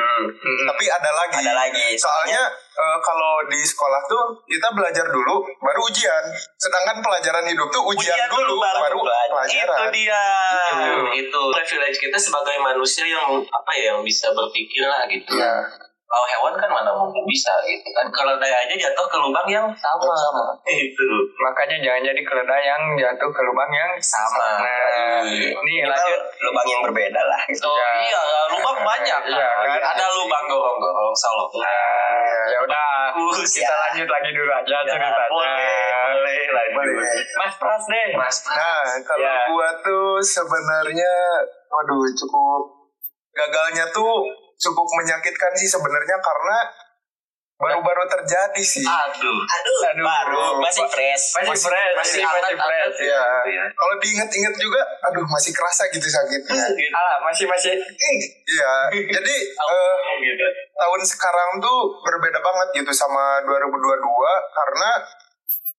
[SPEAKER 4] Tapi ada lagi.
[SPEAKER 2] ada lagi.
[SPEAKER 4] Soalnya eh, kalau di sekolah tuh kita belajar dulu baru ujian. Sedangkan pelajaran hidup tuh ujian, dulu baru,
[SPEAKER 5] Itu
[SPEAKER 4] pelajaran.
[SPEAKER 5] dia. Iya. Itu privilege kita sebagai manusia yang apa ya yang bisa berpikir lah gitu.
[SPEAKER 4] Iya.
[SPEAKER 5] Kalau hewan kan mana mungkin bisa gitu kan. Kalau daya aja jatuh ke lubang yang sama. Itu.
[SPEAKER 6] Makanya jangan jadi keledai yang jatuh ke lubang yang
[SPEAKER 5] Sama.
[SPEAKER 6] Nah, nih
[SPEAKER 2] kita
[SPEAKER 6] lanjut.
[SPEAKER 2] lubang yang berbeda lah. gitu.
[SPEAKER 5] Oh,
[SPEAKER 6] Ya.
[SPEAKER 5] iya, lubang banyak.
[SPEAKER 6] Iya,
[SPEAKER 5] kan?
[SPEAKER 6] kan?
[SPEAKER 5] Ada lubang gorong-gorong solok.
[SPEAKER 6] Nah, ya udah,
[SPEAKER 5] Bagus,
[SPEAKER 6] kita
[SPEAKER 5] ya.
[SPEAKER 6] lanjut lagi dulu aja
[SPEAKER 5] boleh,
[SPEAKER 6] ceritanya.
[SPEAKER 5] boleh,
[SPEAKER 4] Boleh.
[SPEAKER 5] lanjut.
[SPEAKER 6] Mas Pras deh.
[SPEAKER 5] Eh, Mas,
[SPEAKER 4] Nah, kalau
[SPEAKER 6] Iya.
[SPEAKER 4] gua tuh sebenarnya waduh cukup gagalnya tuh cukup menyakitkan sih sebenarnya karena baru-baru terjadi sih.
[SPEAKER 5] aduh.
[SPEAKER 2] Aduh,
[SPEAKER 6] Aduh.
[SPEAKER 2] baru masih fresh.
[SPEAKER 6] Masih fresh,
[SPEAKER 5] masih
[SPEAKER 6] masih masih
[SPEAKER 5] hangat,
[SPEAKER 6] fresh.
[SPEAKER 5] hangat.
[SPEAKER 4] Iya.
[SPEAKER 5] Gitu ya.
[SPEAKER 4] Kalau diinget-inget juga, aduh masih kerasa gitu sakitnya.
[SPEAKER 6] Alah, masih masih
[SPEAKER 4] Iya. Jadi eh,
[SPEAKER 5] Gitu.
[SPEAKER 4] tahun sekarang tuh berbeda banget gitu sama 2022 karena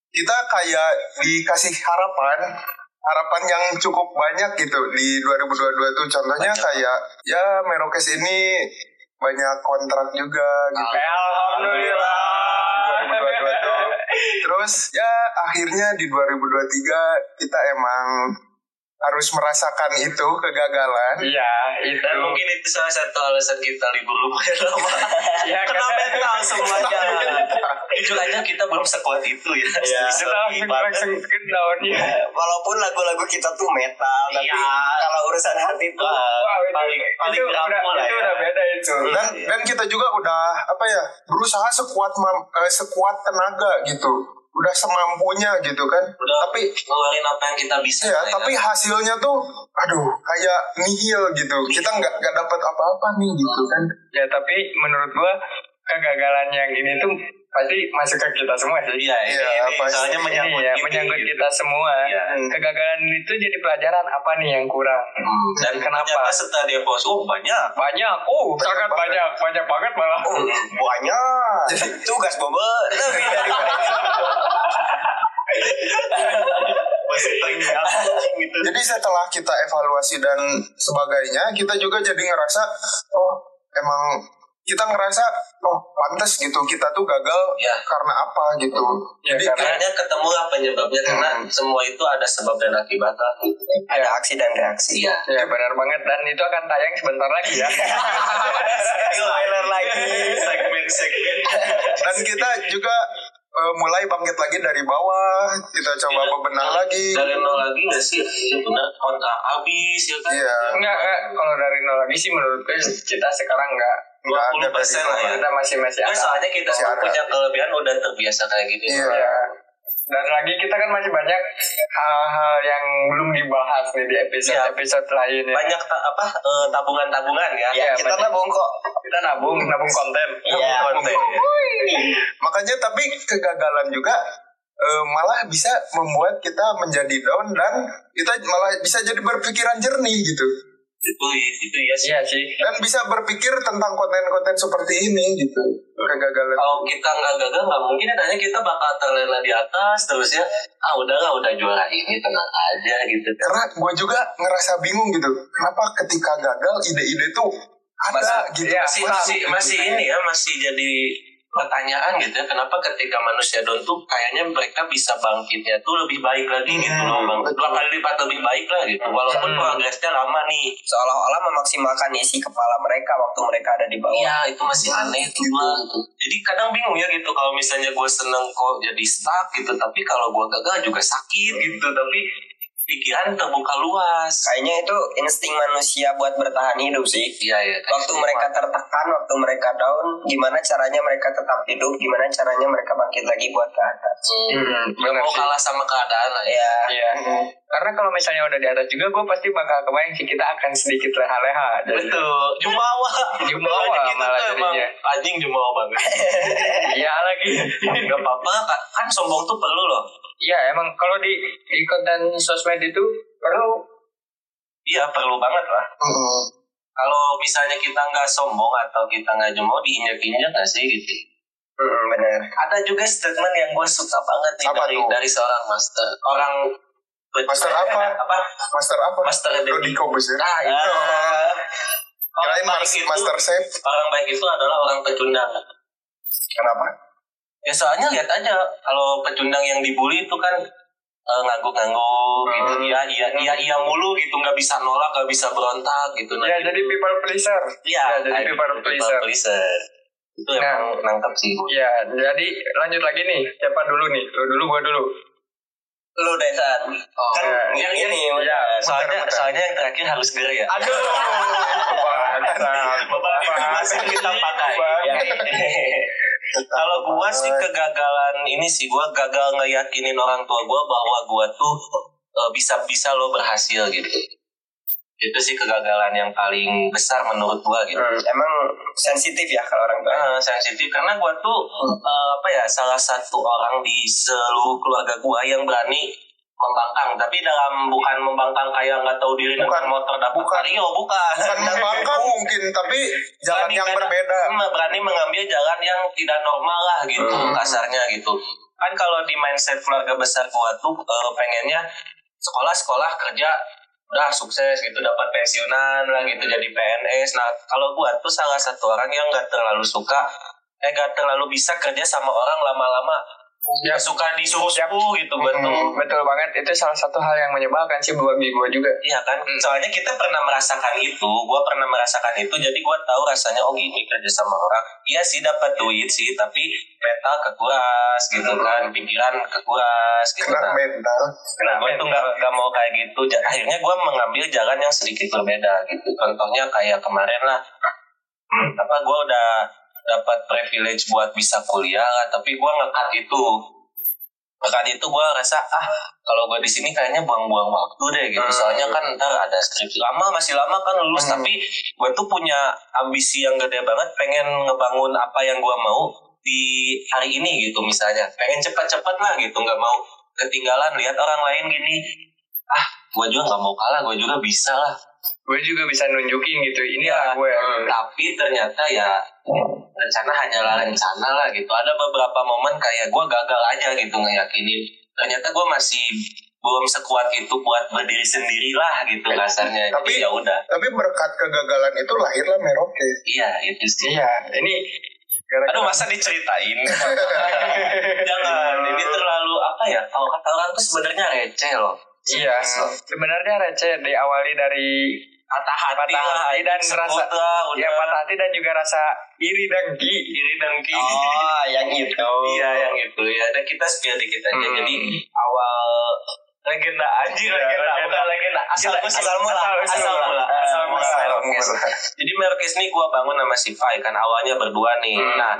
[SPEAKER 4] kita kayak dikasih harapan harapan yang cukup banyak gitu di 2022 tuh contohnya kayak ya Merokes ini banyak kontrak juga gitu.
[SPEAKER 5] Ya,
[SPEAKER 6] alhamdulillah.
[SPEAKER 4] 2022 tuh. Terus ya akhirnya di 2023 kita emang harus merasakan itu kegagalan.
[SPEAKER 6] Iya, itu.
[SPEAKER 5] Dan mungkin itu salah satu alasan kita libur lumayan lama.
[SPEAKER 6] Ya,
[SPEAKER 5] Kena
[SPEAKER 6] karena-
[SPEAKER 5] mental semuanya. Jujur aja kita belum sekuat itu ya.
[SPEAKER 2] Iya.
[SPEAKER 5] Sedih
[SPEAKER 6] Kita
[SPEAKER 5] sekali,
[SPEAKER 6] langsung
[SPEAKER 5] Pak.
[SPEAKER 6] langsung iya. ke downnya.
[SPEAKER 2] Walaupun lagu-lagu kita tuh metal, tapi
[SPEAKER 5] Iya.
[SPEAKER 2] kalau urusan hati tuh
[SPEAKER 5] Wah,
[SPEAKER 6] Wah, itu,
[SPEAKER 5] paling paling
[SPEAKER 6] itu udah,
[SPEAKER 5] rapuh lah
[SPEAKER 6] itu
[SPEAKER 5] ya.
[SPEAKER 6] udah beda itu.
[SPEAKER 4] dan dan kita juga udah apa ya berusaha sekuat mam- eh, sekuat tenaga gitu udah semampunya gitu kan
[SPEAKER 5] Udah.
[SPEAKER 4] tapi
[SPEAKER 5] ngeluarin apa yang kita bisa
[SPEAKER 2] Iya,
[SPEAKER 4] ya
[SPEAKER 5] ya
[SPEAKER 4] tapi
[SPEAKER 5] kan?
[SPEAKER 4] hasilnya tuh aduh kayak nihil gitu kita nggak nggak dapat apa-apa nih gitu kan
[SPEAKER 6] ya tapi menurut gua kegagalan yang ini tuh pasti masuk ke kita semua sih
[SPEAKER 5] iya ini,
[SPEAKER 4] Iya,
[SPEAKER 5] ini
[SPEAKER 4] apa sih?
[SPEAKER 5] soalnya menyangkut
[SPEAKER 6] Iya,
[SPEAKER 5] ini,
[SPEAKER 6] menyangkut
[SPEAKER 5] gitu.
[SPEAKER 6] kita semua
[SPEAKER 5] Iya.
[SPEAKER 6] kegagalan itu jadi pelajaran apa nih yang kurang
[SPEAKER 2] Hmm.
[SPEAKER 5] dan
[SPEAKER 6] Kenapa?
[SPEAKER 5] kenapa setelah Devos oh banyak
[SPEAKER 6] banyak oh
[SPEAKER 4] Banyak
[SPEAKER 6] sangat
[SPEAKER 4] banget.
[SPEAKER 6] banyak banyak banget malah
[SPEAKER 2] Oh, banyak. Tugas boba lebih dari
[SPEAKER 5] masih teringat gitu
[SPEAKER 4] Iya. Jadi setelah kita evaluasi dan sebagainya, kita juga jadi ngerasa, oh emang kita ngerasa, oh pantas gitu, kita tuh gagal
[SPEAKER 5] Ya.
[SPEAKER 4] karena apa gitu.
[SPEAKER 6] Ya,
[SPEAKER 4] jadi
[SPEAKER 6] karena-
[SPEAKER 5] akhirnya ketemulah penyebabnya karena semua itu ada sebab dan akibatnya
[SPEAKER 2] Hmm. ada aksi dan reaksi.
[SPEAKER 5] iya
[SPEAKER 6] ya benar banget dan itu akan tayang sebentar lagi ya
[SPEAKER 2] Spoiler lagi.
[SPEAKER 5] segmen segmen
[SPEAKER 4] dan kita juga eh, mulai bangkit lagi dari bawah, kita coba bebenah lagi.
[SPEAKER 5] Iya. dari nol lagi nggak sih sebenarnya kontak habis ya kan
[SPEAKER 4] Iya.
[SPEAKER 6] enggak enggak kalau dari nol lagi sih menurut gue kita sekarang enggak
[SPEAKER 4] Nggak ada
[SPEAKER 5] 20% lah ya.
[SPEAKER 4] dari-
[SPEAKER 6] kita masih masih
[SPEAKER 5] Nggak,
[SPEAKER 6] ada
[SPEAKER 5] soalnya kita
[SPEAKER 4] Masih
[SPEAKER 5] semua
[SPEAKER 4] ada.
[SPEAKER 5] punya kelebihan udah terbiasa kayak gini
[SPEAKER 4] Iya.
[SPEAKER 6] Ya. Dan lagi kita kan masih banyak hal-hal yang belum dibahas nih di episode-episode lain ya.
[SPEAKER 5] banyak ta- apa eh, tabungan-tabungan ya,
[SPEAKER 6] Iya,
[SPEAKER 5] kita
[SPEAKER 2] Kita
[SPEAKER 6] banyak.
[SPEAKER 2] nabung kok.
[SPEAKER 6] Kita nabung, nabung konten.
[SPEAKER 2] Iya.
[SPEAKER 5] konten
[SPEAKER 4] Makanya tapi kegagalan juga eh, malah bisa membuat kita menjadi down dan kita malah bisa jadi berpikiran jernih gitu.
[SPEAKER 5] itu itu ya sih
[SPEAKER 6] Iya sih.
[SPEAKER 4] dan bisa berpikir tentang konten-konten seperti ini gitu kegagalan
[SPEAKER 5] kalau kita nggak gagal nggak mungkin hanya kita bakal terlena di atas terus ya ah udahlah udah juara ini tenang aja gitu kan
[SPEAKER 4] karena gue juga ngerasa bingung gitu kenapa ketika gagal ide-ide tuh ada
[SPEAKER 5] Masa-
[SPEAKER 4] gitu
[SPEAKER 5] Ya,
[SPEAKER 6] iya,
[SPEAKER 5] masih
[SPEAKER 4] Masa-
[SPEAKER 5] masih masih ini ya masih jadi pertanyaan gitu ya kenapa ketika manusia down tuh kayaknya mereka bisa bangkitnya tuh lebih baik lagi gitu
[SPEAKER 2] Hmm,
[SPEAKER 5] loh bang
[SPEAKER 4] betul.
[SPEAKER 5] dua kali lipat lebih baik lah gitu walaupun
[SPEAKER 6] Hmm.
[SPEAKER 5] progresnya lama nih
[SPEAKER 2] Seolah-olah memaksimalkan isi kepala mereka waktu mereka ada di bawah.
[SPEAKER 5] Iya itu masih aneh itu
[SPEAKER 2] Hmm.
[SPEAKER 5] Bang. Jadi kadang bingung ya gitu kalau misalnya gue seneng kok jadi stuck gitu, tapi kalau gue gagal juga sakit gitu, tapi pikiran terbuka luas.
[SPEAKER 2] Kayaknya itu insting manusia buat bertahan hidup sih.
[SPEAKER 5] Iya ya. kayak
[SPEAKER 2] Waktu
[SPEAKER 5] gitu.
[SPEAKER 2] mereka tertekan, waktu mereka down, gimana caranya mereka tetap hidup, gimana caranya mereka bangkit lagi buat ke atas.
[SPEAKER 6] Hmm,
[SPEAKER 5] Nggak
[SPEAKER 6] benar
[SPEAKER 5] mau
[SPEAKER 6] sih.
[SPEAKER 5] kalah sama keadaan lah ya.
[SPEAKER 2] Ya,
[SPEAKER 6] Iya. Karena kalau misalnya udah di atas juga, gue pasti bakal kebayang sih kita akan sedikit leha-leha. Jadi,
[SPEAKER 5] Betul, jumawa.
[SPEAKER 6] Jumawa
[SPEAKER 5] Makanya kita
[SPEAKER 6] malah
[SPEAKER 5] tuh emang
[SPEAKER 6] jadinya.
[SPEAKER 5] anjing jumawa banget.
[SPEAKER 6] Iya lagi.
[SPEAKER 5] Gak apa-apa, kan, kan sombong tuh perlu loh.
[SPEAKER 6] Iya emang kalau di, di konten sosmed itu perlu
[SPEAKER 5] Iya perlu banget lah.
[SPEAKER 4] Mm-mm.
[SPEAKER 5] Kalau misalnya kita nggak sombong atau kita nggak jumawa diinjak-injak nggak sih gitu.
[SPEAKER 2] hmm, benar.
[SPEAKER 5] ada juga statement yang gue suka banget nih
[SPEAKER 4] Apa
[SPEAKER 5] dari,
[SPEAKER 4] tuh?
[SPEAKER 5] dari seorang master orang
[SPEAKER 4] Master apa?
[SPEAKER 5] apa
[SPEAKER 4] master apa ya.
[SPEAKER 5] master
[SPEAKER 4] Rudy
[SPEAKER 5] Debbie
[SPEAKER 4] Kobuzer
[SPEAKER 5] ah itu
[SPEAKER 4] Ah.
[SPEAKER 5] orang
[SPEAKER 4] kirain
[SPEAKER 5] baik
[SPEAKER 4] mas-
[SPEAKER 5] itu
[SPEAKER 4] master chef
[SPEAKER 5] orang baik itu adalah orang pecundang
[SPEAKER 4] kenapa
[SPEAKER 5] ya soalnya lihat aja kalau pecundang yang dibully itu kan eh, ngangguk-ngangguk gitu
[SPEAKER 4] Hmm.
[SPEAKER 5] iya iya iya iya mulu gitu nggak bisa nolak nggak bisa berontak gitu
[SPEAKER 6] ya jadi people pleaser.
[SPEAKER 5] iya
[SPEAKER 6] ya, jadi
[SPEAKER 5] kayak
[SPEAKER 6] people
[SPEAKER 5] gitu,
[SPEAKER 6] pleaser.
[SPEAKER 5] pleaser. itu
[SPEAKER 6] Nah.
[SPEAKER 5] emang nangkep sih
[SPEAKER 6] Iya, jadi lanjut lagi nih. Siapa dulu nih? Lu dulu, gua dulu.
[SPEAKER 2] Lu Desan.
[SPEAKER 5] oh, kan
[SPEAKER 6] iya.
[SPEAKER 5] yang ini
[SPEAKER 6] Iya, muter,
[SPEAKER 5] soalnya
[SPEAKER 6] muter.
[SPEAKER 5] soalnya yang terakhir harus ger ya
[SPEAKER 6] Aduh, bangsat.
[SPEAKER 5] Beban itu masih kita pakai.
[SPEAKER 6] Beban.
[SPEAKER 5] Kalau gua sih kegagalan ini sih gua gagal ngeyakinin orang tua gua bahwa gua tuh eh, bisa-bisa lo berhasil gitu. Itu sih kegagalan yang paling besar menurut gua gitu.
[SPEAKER 2] Emang sensitif ya kalau orang tua.
[SPEAKER 5] Eh, sensitif karena gua tuh eh, apa ya salah satu orang di seluruh keluarga gua yang berani membangkang tapi dalam bukan membangkang kayak nggak tahu diri
[SPEAKER 4] Bukan.
[SPEAKER 5] dengan motor dapat
[SPEAKER 4] Bukan.
[SPEAKER 5] Vario, bukan
[SPEAKER 4] bukan membangkang mungkin tapi jalan
[SPEAKER 5] Berani
[SPEAKER 4] yang
[SPEAKER 5] karena-
[SPEAKER 4] berbeda
[SPEAKER 5] Hmm, berani mengambil jalan yang tidak normal lah gitu
[SPEAKER 4] Hmm.
[SPEAKER 5] kasarnya gitu kan kalau di mindset keluarga besar gua tuh eh, pengennya sekolah sekolah kerja udah sukses gitu dapat pensiunan lah gitu jadi PNS nah kalau gua tuh salah satu orang yang nggak terlalu suka eh nggak terlalu bisa kerja sama orang lama-lama ya suka disuruh-suruh gitu gua tuh
[SPEAKER 4] Hmm.
[SPEAKER 6] Betul banget, itu salah satu hal yang menyebalkan sih bagi gue juga.
[SPEAKER 5] Iya kan, soalnya kita pernah merasakan itu, gue pernah merasakan itu, jadi gue tahu rasanya oh gini kerja sama orang. Iya sih dapat duit sih, tapi mental kekuras gitu kan, pikiran kekuras gitu
[SPEAKER 4] kena
[SPEAKER 5] kan.
[SPEAKER 4] mental
[SPEAKER 5] Nah, gue tuh nggak nggak mau kayak gitu. Ja- Akhirnya gue mengambil jalan yang sedikit berbeda gitu. Contohnya kayak kemarin lah, apa gue udah dapat privilege buat bisa kuliah, lah, tapi gue ngekat itu pekan itu gue rasa ah kalau gue di sini kayaknya buang-buang waktu deh gitu soalnya kan ntar ada skripsi lama masih lama kan lulus tapi gue tuh punya ambisi yang gede banget pengen ngebangun apa yang gue mau di hari ini gitu misalnya pengen cepat-cepat lah gitu nggak mau ketinggalan lihat orang lain gini ah gue juga nggak mau kalah gue juga bisa lah
[SPEAKER 6] gue juga bisa nunjukin gitu ini
[SPEAKER 5] Iya.
[SPEAKER 6] lah gue
[SPEAKER 5] tapi ternyata ya rencana hanyalah rencana lah gitu ada beberapa momen kayak gue gagal aja gitu ngeyakinin ternyata gue masih belum sekuat itu buat berdiri sendiri lah gitu kasarnya
[SPEAKER 4] Tapi-
[SPEAKER 5] tapi ya udah
[SPEAKER 4] Tapi berkat kegagalan itu lahirlah Merauke.
[SPEAKER 5] iya itu sih
[SPEAKER 6] iya ini
[SPEAKER 5] aduh masa diceritain jangan ini terlalu apa ya kalau kata orang tuh sebenarnya receh loh
[SPEAKER 6] iya sebenarnya receh diawali dari
[SPEAKER 5] patah hati,
[SPEAKER 6] Patah hati dan
[SPEAKER 5] ikut
[SPEAKER 6] rasa-
[SPEAKER 5] lah, udah
[SPEAKER 6] ya patah hati dan juga rasa iri dan gi
[SPEAKER 5] kiri dan kiri
[SPEAKER 2] Oh, yang itu.
[SPEAKER 5] Iya yang itu ya. Dan kita spill dikit aja.
[SPEAKER 6] Hmm.
[SPEAKER 5] Jadi awal legenda anjir
[SPEAKER 6] Iya,
[SPEAKER 5] legenda,
[SPEAKER 6] legenda.
[SPEAKER 5] bukan legenda asal
[SPEAKER 6] Kita-
[SPEAKER 5] usul.
[SPEAKER 6] asal mula.
[SPEAKER 5] asal mula
[SPEAKER 6] Asal mula.
[SPEAKER 5] Asal mula. jadi Merkis ini gua bangun sama si Fai kan awalnya berdua nih
[SPEAKER 6] Hmm.
[SPEAKER 5] nah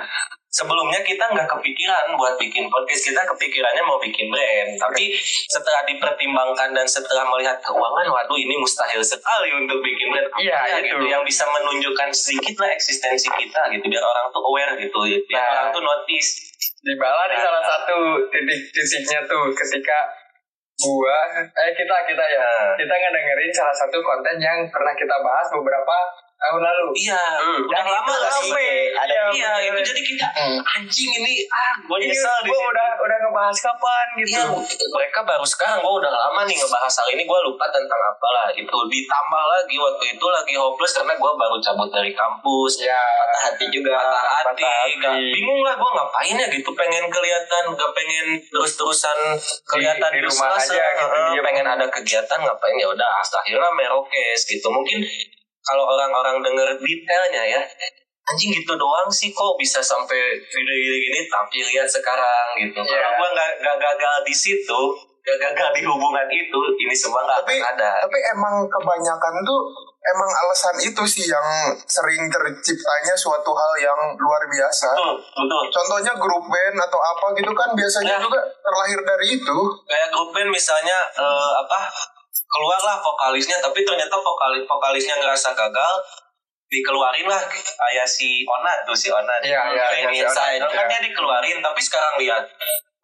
[SPEAKER 5] sebelumnya kita nggak kepikiran buat bikin podcast kita kepikirannya mau bikin brand tapi setelah dipertimbangkan dan setelah melihat keuangan waduh ini mustahil sekali untuk bikin brand
[SPEAKER 6] Iya,
[SPEAKER 5] Apa ya
[SPEAKER 6] itu.
[SPEAKER 5] gitu yang bisa menunjukkan sedikit lah eksistensi kita gitu biar orang tuh aware gitu biar
[SPEAKER 6] Nah.
[SPEAKER 5] orang tuh notice
[SPEAKER 6] Dybala di salah satu titik titiknya tuh ketika gua eh kita kita ya
[SPEAKER 5] Ah.
[SPEAKER 6] kita ngedengerin salah satu konten yang pernah kita bahas beberapa tahun lalu
[SPEAKER 5] Iya,
[SPEAKER 6] Hmm.
[SPEAKER 5] udah
[SPEAKER 6] Dan
[SPEAKER 5] lama
[SPEAKER 6] itu
[SPEAKER 5] gak sih?
[SPEAKER 6] rame.
[SPEAKER 5] Ada
[SPEAKER 6] Iya,
[SPEAKER 5] iya,
[SPEAKER 6] bener.
[SPEAKER 5] itu jadi kita anjing ini ah gue
[SPEAKER 6] Ini
[SPEAKER 5] nyesel di
[SPEAKER 6] gua
[SPEAKER 5] sini.
[SPEAKER 6] udah udah ngebahas kapan gitu
[SPEAKER 5] Iya, mereka baru sekarang gue udah lama nih ngebahas hal ini gue lupa tentang apalah itu ditambah lagi waktu itu lagi hopeless karena gue baru cabut dari kampus
[SPEAKER 6] ya
[SPEAKER 5] patah hati juga patah hati,
[SPEAKER 6] Patah hati.
[SPEAKER 5] Nggak- bingung lah gue ngapain ya gitu pengen kelihatan gak pengen terus terusan kelihatan
[SPEAKER 6] di rumah
[SPEAKER 5] useless,
[SPEAKER 6] aja gitu,
[SPEAKER 5] eh,
[SPEAKER 6] diem.
[SPEAKER 5] pengen ada kegiatan ngapain ya udah akhirnya merokes gitu mungkin kalau orang-orang denger detailnya ya anjing gitu doang sih kok bisa sampai video gini, gini tapi lihat sekarang gitu
[SPEAKER 6] Iya.
[SPEAKER 5] kalau gue nggak nggak gagal di situ nggak gagal di hubungan itu ini semua nggak
[SPEAKER 4] Tapi-
[SPEAKER 5] akan ada
[SPEAKER 4] Tapi emang kebanyakan tuh emang alasan itu sih yang sering terciptanya suatu hal yang luar biasa.
[SPEAKER 5] betul betul
[SPEAKER 4] Contohnya grup band atau apa gitu kan biasanya
[SPEAKER 5] Ya.
[SPEAKER 4] juga terlahir dari itu.
[SPEAKER 5] kayak grup band misalnya eh, apa keluarlah vokalisnya tapi ternyata vokalis vokalisnya ngerasa gagal dikeluarin lah kayak si Onat tuh si Onat
[SPEAKER 6] Iya, iya,
[SPEAKER 5] Ini
[SPEAKER 6] iya, si
[SPEAKER 5] Inside.
[SPEAKER 6] Onat,
[SPEAKER 5] kan
[SPEAKER 6] iya.
[SPEAKER 5] dia dikeluarin tapi sekarang lihat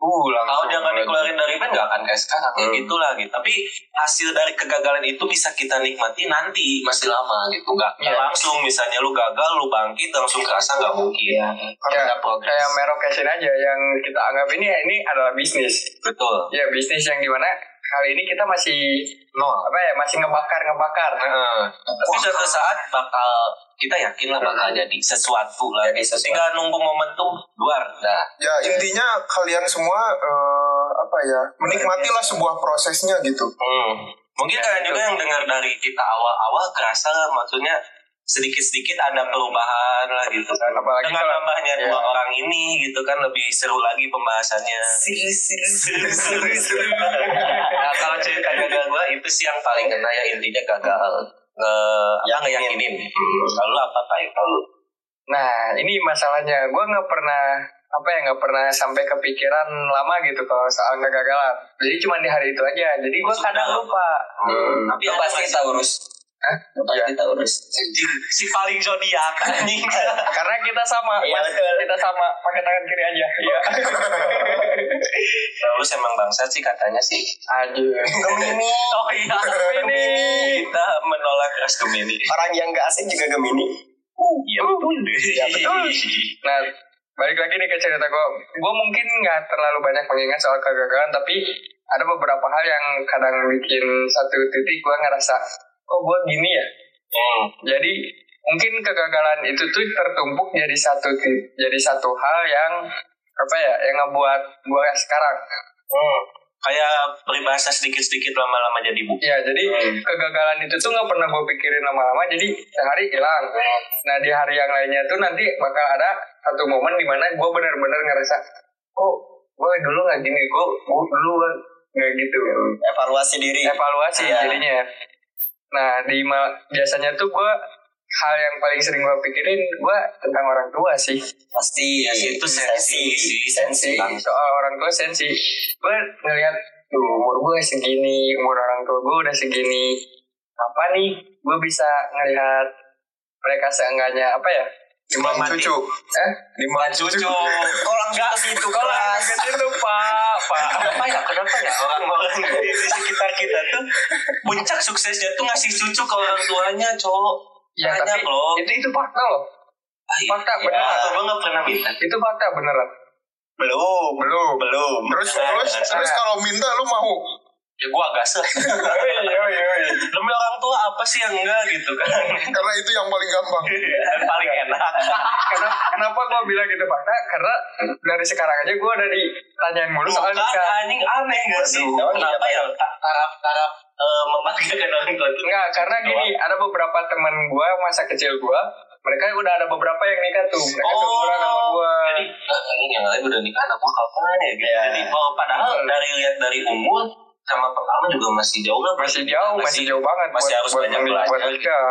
[SPEAKER 6] uh
[SPEAKER 5] kalau
[SPEAKER 6] langsung
[SPEAKER 5] dia nggak dikeluarin dari band nggak akan kayak sekarang ya
[SPEAKER 6] Hmm.
[SPEAKER 5] gitulah gitu tapi hasil dari kegagalan itu bisa kita nikmati nanti masih lama gitu nggak nggak
[SPEAKER 6] Iya.
[SPEAKER 5] langsung misalnya lu gagal lu bangkit langsung kerasa nggak mungkin Karena
[SPEAKER 6] Iya.
[SPEAKER 5] ada progres
[SPEAKER 6] kayak merokesin aja yang kita anggap ini ini adalah bisnis
[SPEAKER 5] betul
[SPEAKER 6] ya bisnis yang dimana kali ini kita masih
[SPEAKER 5] nol
[SPEAKER 6] apa ya masih ngebakar ngebakar
[SPEAKER 5] Heeh. Tapi suatu saat bakal kita yakin lah bakal jadi sesuatu lah.
[SPEAKER 2] Jadi sesuatu.
[SPEAKER 5] Tinggal nunggu momentum luar. Nah,
[SPEAKER 4] Ya intinya kalian semua eh, apa ya menikmatilah sebuah prosesnya gitu.
[SPEAKER 5] hmm. mungkin kalian juga yang dengar dari kita awal-awal kerasa lah, maksudnya sedikit-sedikit ada perubahan lah gitu kan.
[SPEAKER 6] Apalagi
[SPEAKER 5] Dengan
[SPEAKER 6] kalau-
[SPEAKER 5] nambahnya
[SPEAKER 6] Iya.
[SPEAKER 5] dua orang ini gitu kan lebih seru lagi pembahasannya. nah, kalau cerita gagal gue itu sih yang paling kena ya intinya gagal nge apa ngeyakinin. Lalu apa kayak kalau
[SPEAKER 6] Nah, ini masalahnya. Gue nggak pernah apa ya nggak pernah sampai kepikiran lama gitu kalau soal kegagalan. Jadi cuma di hari itu aja. Jadi gue
[SPEAKER 5] Sudah.
[SPEAKER 6] kadang lupa.
[SPEAKER 5] tapi
[SPEAKER 2] Itu
[SPEAKER 5] ada
[SPEAKER 2] pasti
[SPEAKER 5] nggak sih?
[SPEAKER 2] kita urus. Itu pasti
[SPEAKER 6] Iya.
[SPEAKER 2] kita urus.
[SPEAKER 5] si paling zodiak anjing
[SPEAKER 6] Karena kita sama,
[SPEAKER 2] Iya,
[SPEAKER 6] Mas.
[SPEAKER 2] betul.
[SPEAKER 6] Kita sama pakai tangan kiri aja. Iya.
[SPEAKER 5] terus emang bangsat sih katanya sih
[SPEAKER 6] Aduh.
[SPEAKER 2] Gemini.
[SPEAKER 5] oh iya
[SPEAKER 6] Gemini.
[SPEAKER 5] kita menolak keras Gemini
[SPEAKER 2] Orang yang gak asing juga Gemini.
[SPEAKER 5] iya betul
[SPEAKER 6] Iya, betul. Nah, balik lagi nih ke cerita gue. Gue mungkin nggak terlalu banyak mengingat soal kegagalan, tapi ada beberapa hal yang kadang bikin satu titik gue ngerasa, kok gue gini ya?
[SPEAKER 5] hmm.
[SPEAKER 6] Jadi mungkin kegagalan itu tuh tertumpuk jadi satu jadi satu hal yang apa ya yang ngebuat gua sekarang.
[SPEAKER 5] hmm. kayak peribahasa sedikit-sedikit lama-lama jadi buku
[SPEAKER 6] Ya jadi kegagalan itu tuh nggak pernah gue pikirin lama-lama. Jadi sehari hilang. Nah di hari yang lainnya tuh nanti bakal ada satu momen dimana gue bener-bener ngerasa kok gue dulu nggak gini, kok gue dulu nggak- nggak gitu.
[SPEAKER 2] Evaluasi diri.
[SPEAKER 6] evaluasi
[SPEAKER 2] Iya.
[SPEAKER 6] jadinya. Nah, di ma- biasanya tuh gue hal yang paling sering gue pikirin gue tentang orang tua sih
[SPEAKER 2] pasti
[SPEAKER 5] Iya itu sensi sih, sensi.
[SPEAKER 6] sensi soal orang tua sensi gue ngeliat tuh umur gue segini umur orang tua gue udah segini apa nih gue bisa ngelihat mereka seenggaknya apa ya
[SPEAKER 4] Cuma
[SPEAKER 5] mati.
[SPEAKER 4] cucu.
[SPEAKER 6] eh
[SPEAKER 4] Lima
[SPEAKER 5] Cucu,
[SPEAKER 2] kok langsung ke situ
[SPEAKER 6] kalau
[SPEAKER 2] kelas
[SPEAKER 6] anak kecil tuh pak pak
[SPEAKER 5] apa ya kenapa ya orang-orang di sekitar kita tuh puncak suksesnya tuh ngasih cucu ke orang tuanya cowok
[SPEAKER 6] ya
[SPEAKER 5] Banyak
[SPEAKER 6] tapi
[SPEAKER 5] loh.
[SPEAKER 6] itu itu fakta loh
[SPEAKER 5] ya,
[SPEAKER 6] fakta beneran
[SPEAKER 5] atau gue nggak pernah minta
[SPEAKER 6] itu fakta beneran
[SPEAKER 5] belum
[SPEAKER 4] Belum.
[SPEAKER 5] belum
[SPEAKER 4] Terus
[SPEAKER 5] Nah,
[SPEAKER 4] terus
[SPEAKER 5] nah,
[SPEAKER 4] terus
[SPEAKER 5] nah.
[SPEAKER 4] kalau minta lu mau.
[SPEAKER 5] ya gue agak sel iya. demi orang tua apa sih yang enggak gitu kan
[SPEAKER 4] Karena itu yang paling gampang.
[SPEAKER 5] Dan paling enak
[SPEAKER 6] Karena, kenapa gue bilang gitu fakta? Karena dari sekarang aja gue dari tanyain mulu soal
[SPEAKER 5] Bukan,
[SPEAKER 6] nikah.
[SPEAKER 5] anjing aneh gak sih
[SPEAKER 4] Waduh,
[SPEAKER 5] kenapa ya ta- taraf-taraf eh, memanjakan orang tua itu
[SPEAKER 6] Enggak, karena gini, ada beberapa teman gue masa kecil gue, mereka udah ada beberapa yang nikah tuh. Mereka seumuran sama gue.
[SPEAKER 5] Oh. Jadi eh, ini yang lain udah nikah anak gua kapan ya gitu.
[SPEAKER 6] Iya.
[SPEAKER 5] Jadi oh, padahal dari lihat dari umur sama pertama juga masih jauh lah
[SPEAKER 6] masih jauh, masih, jauh banget.
[SPEAKER 5] masih harus banyak
[SPEAKER 6] menik-
[SPEAKER 5] belajar
[SPEAKER 6] buat nikah.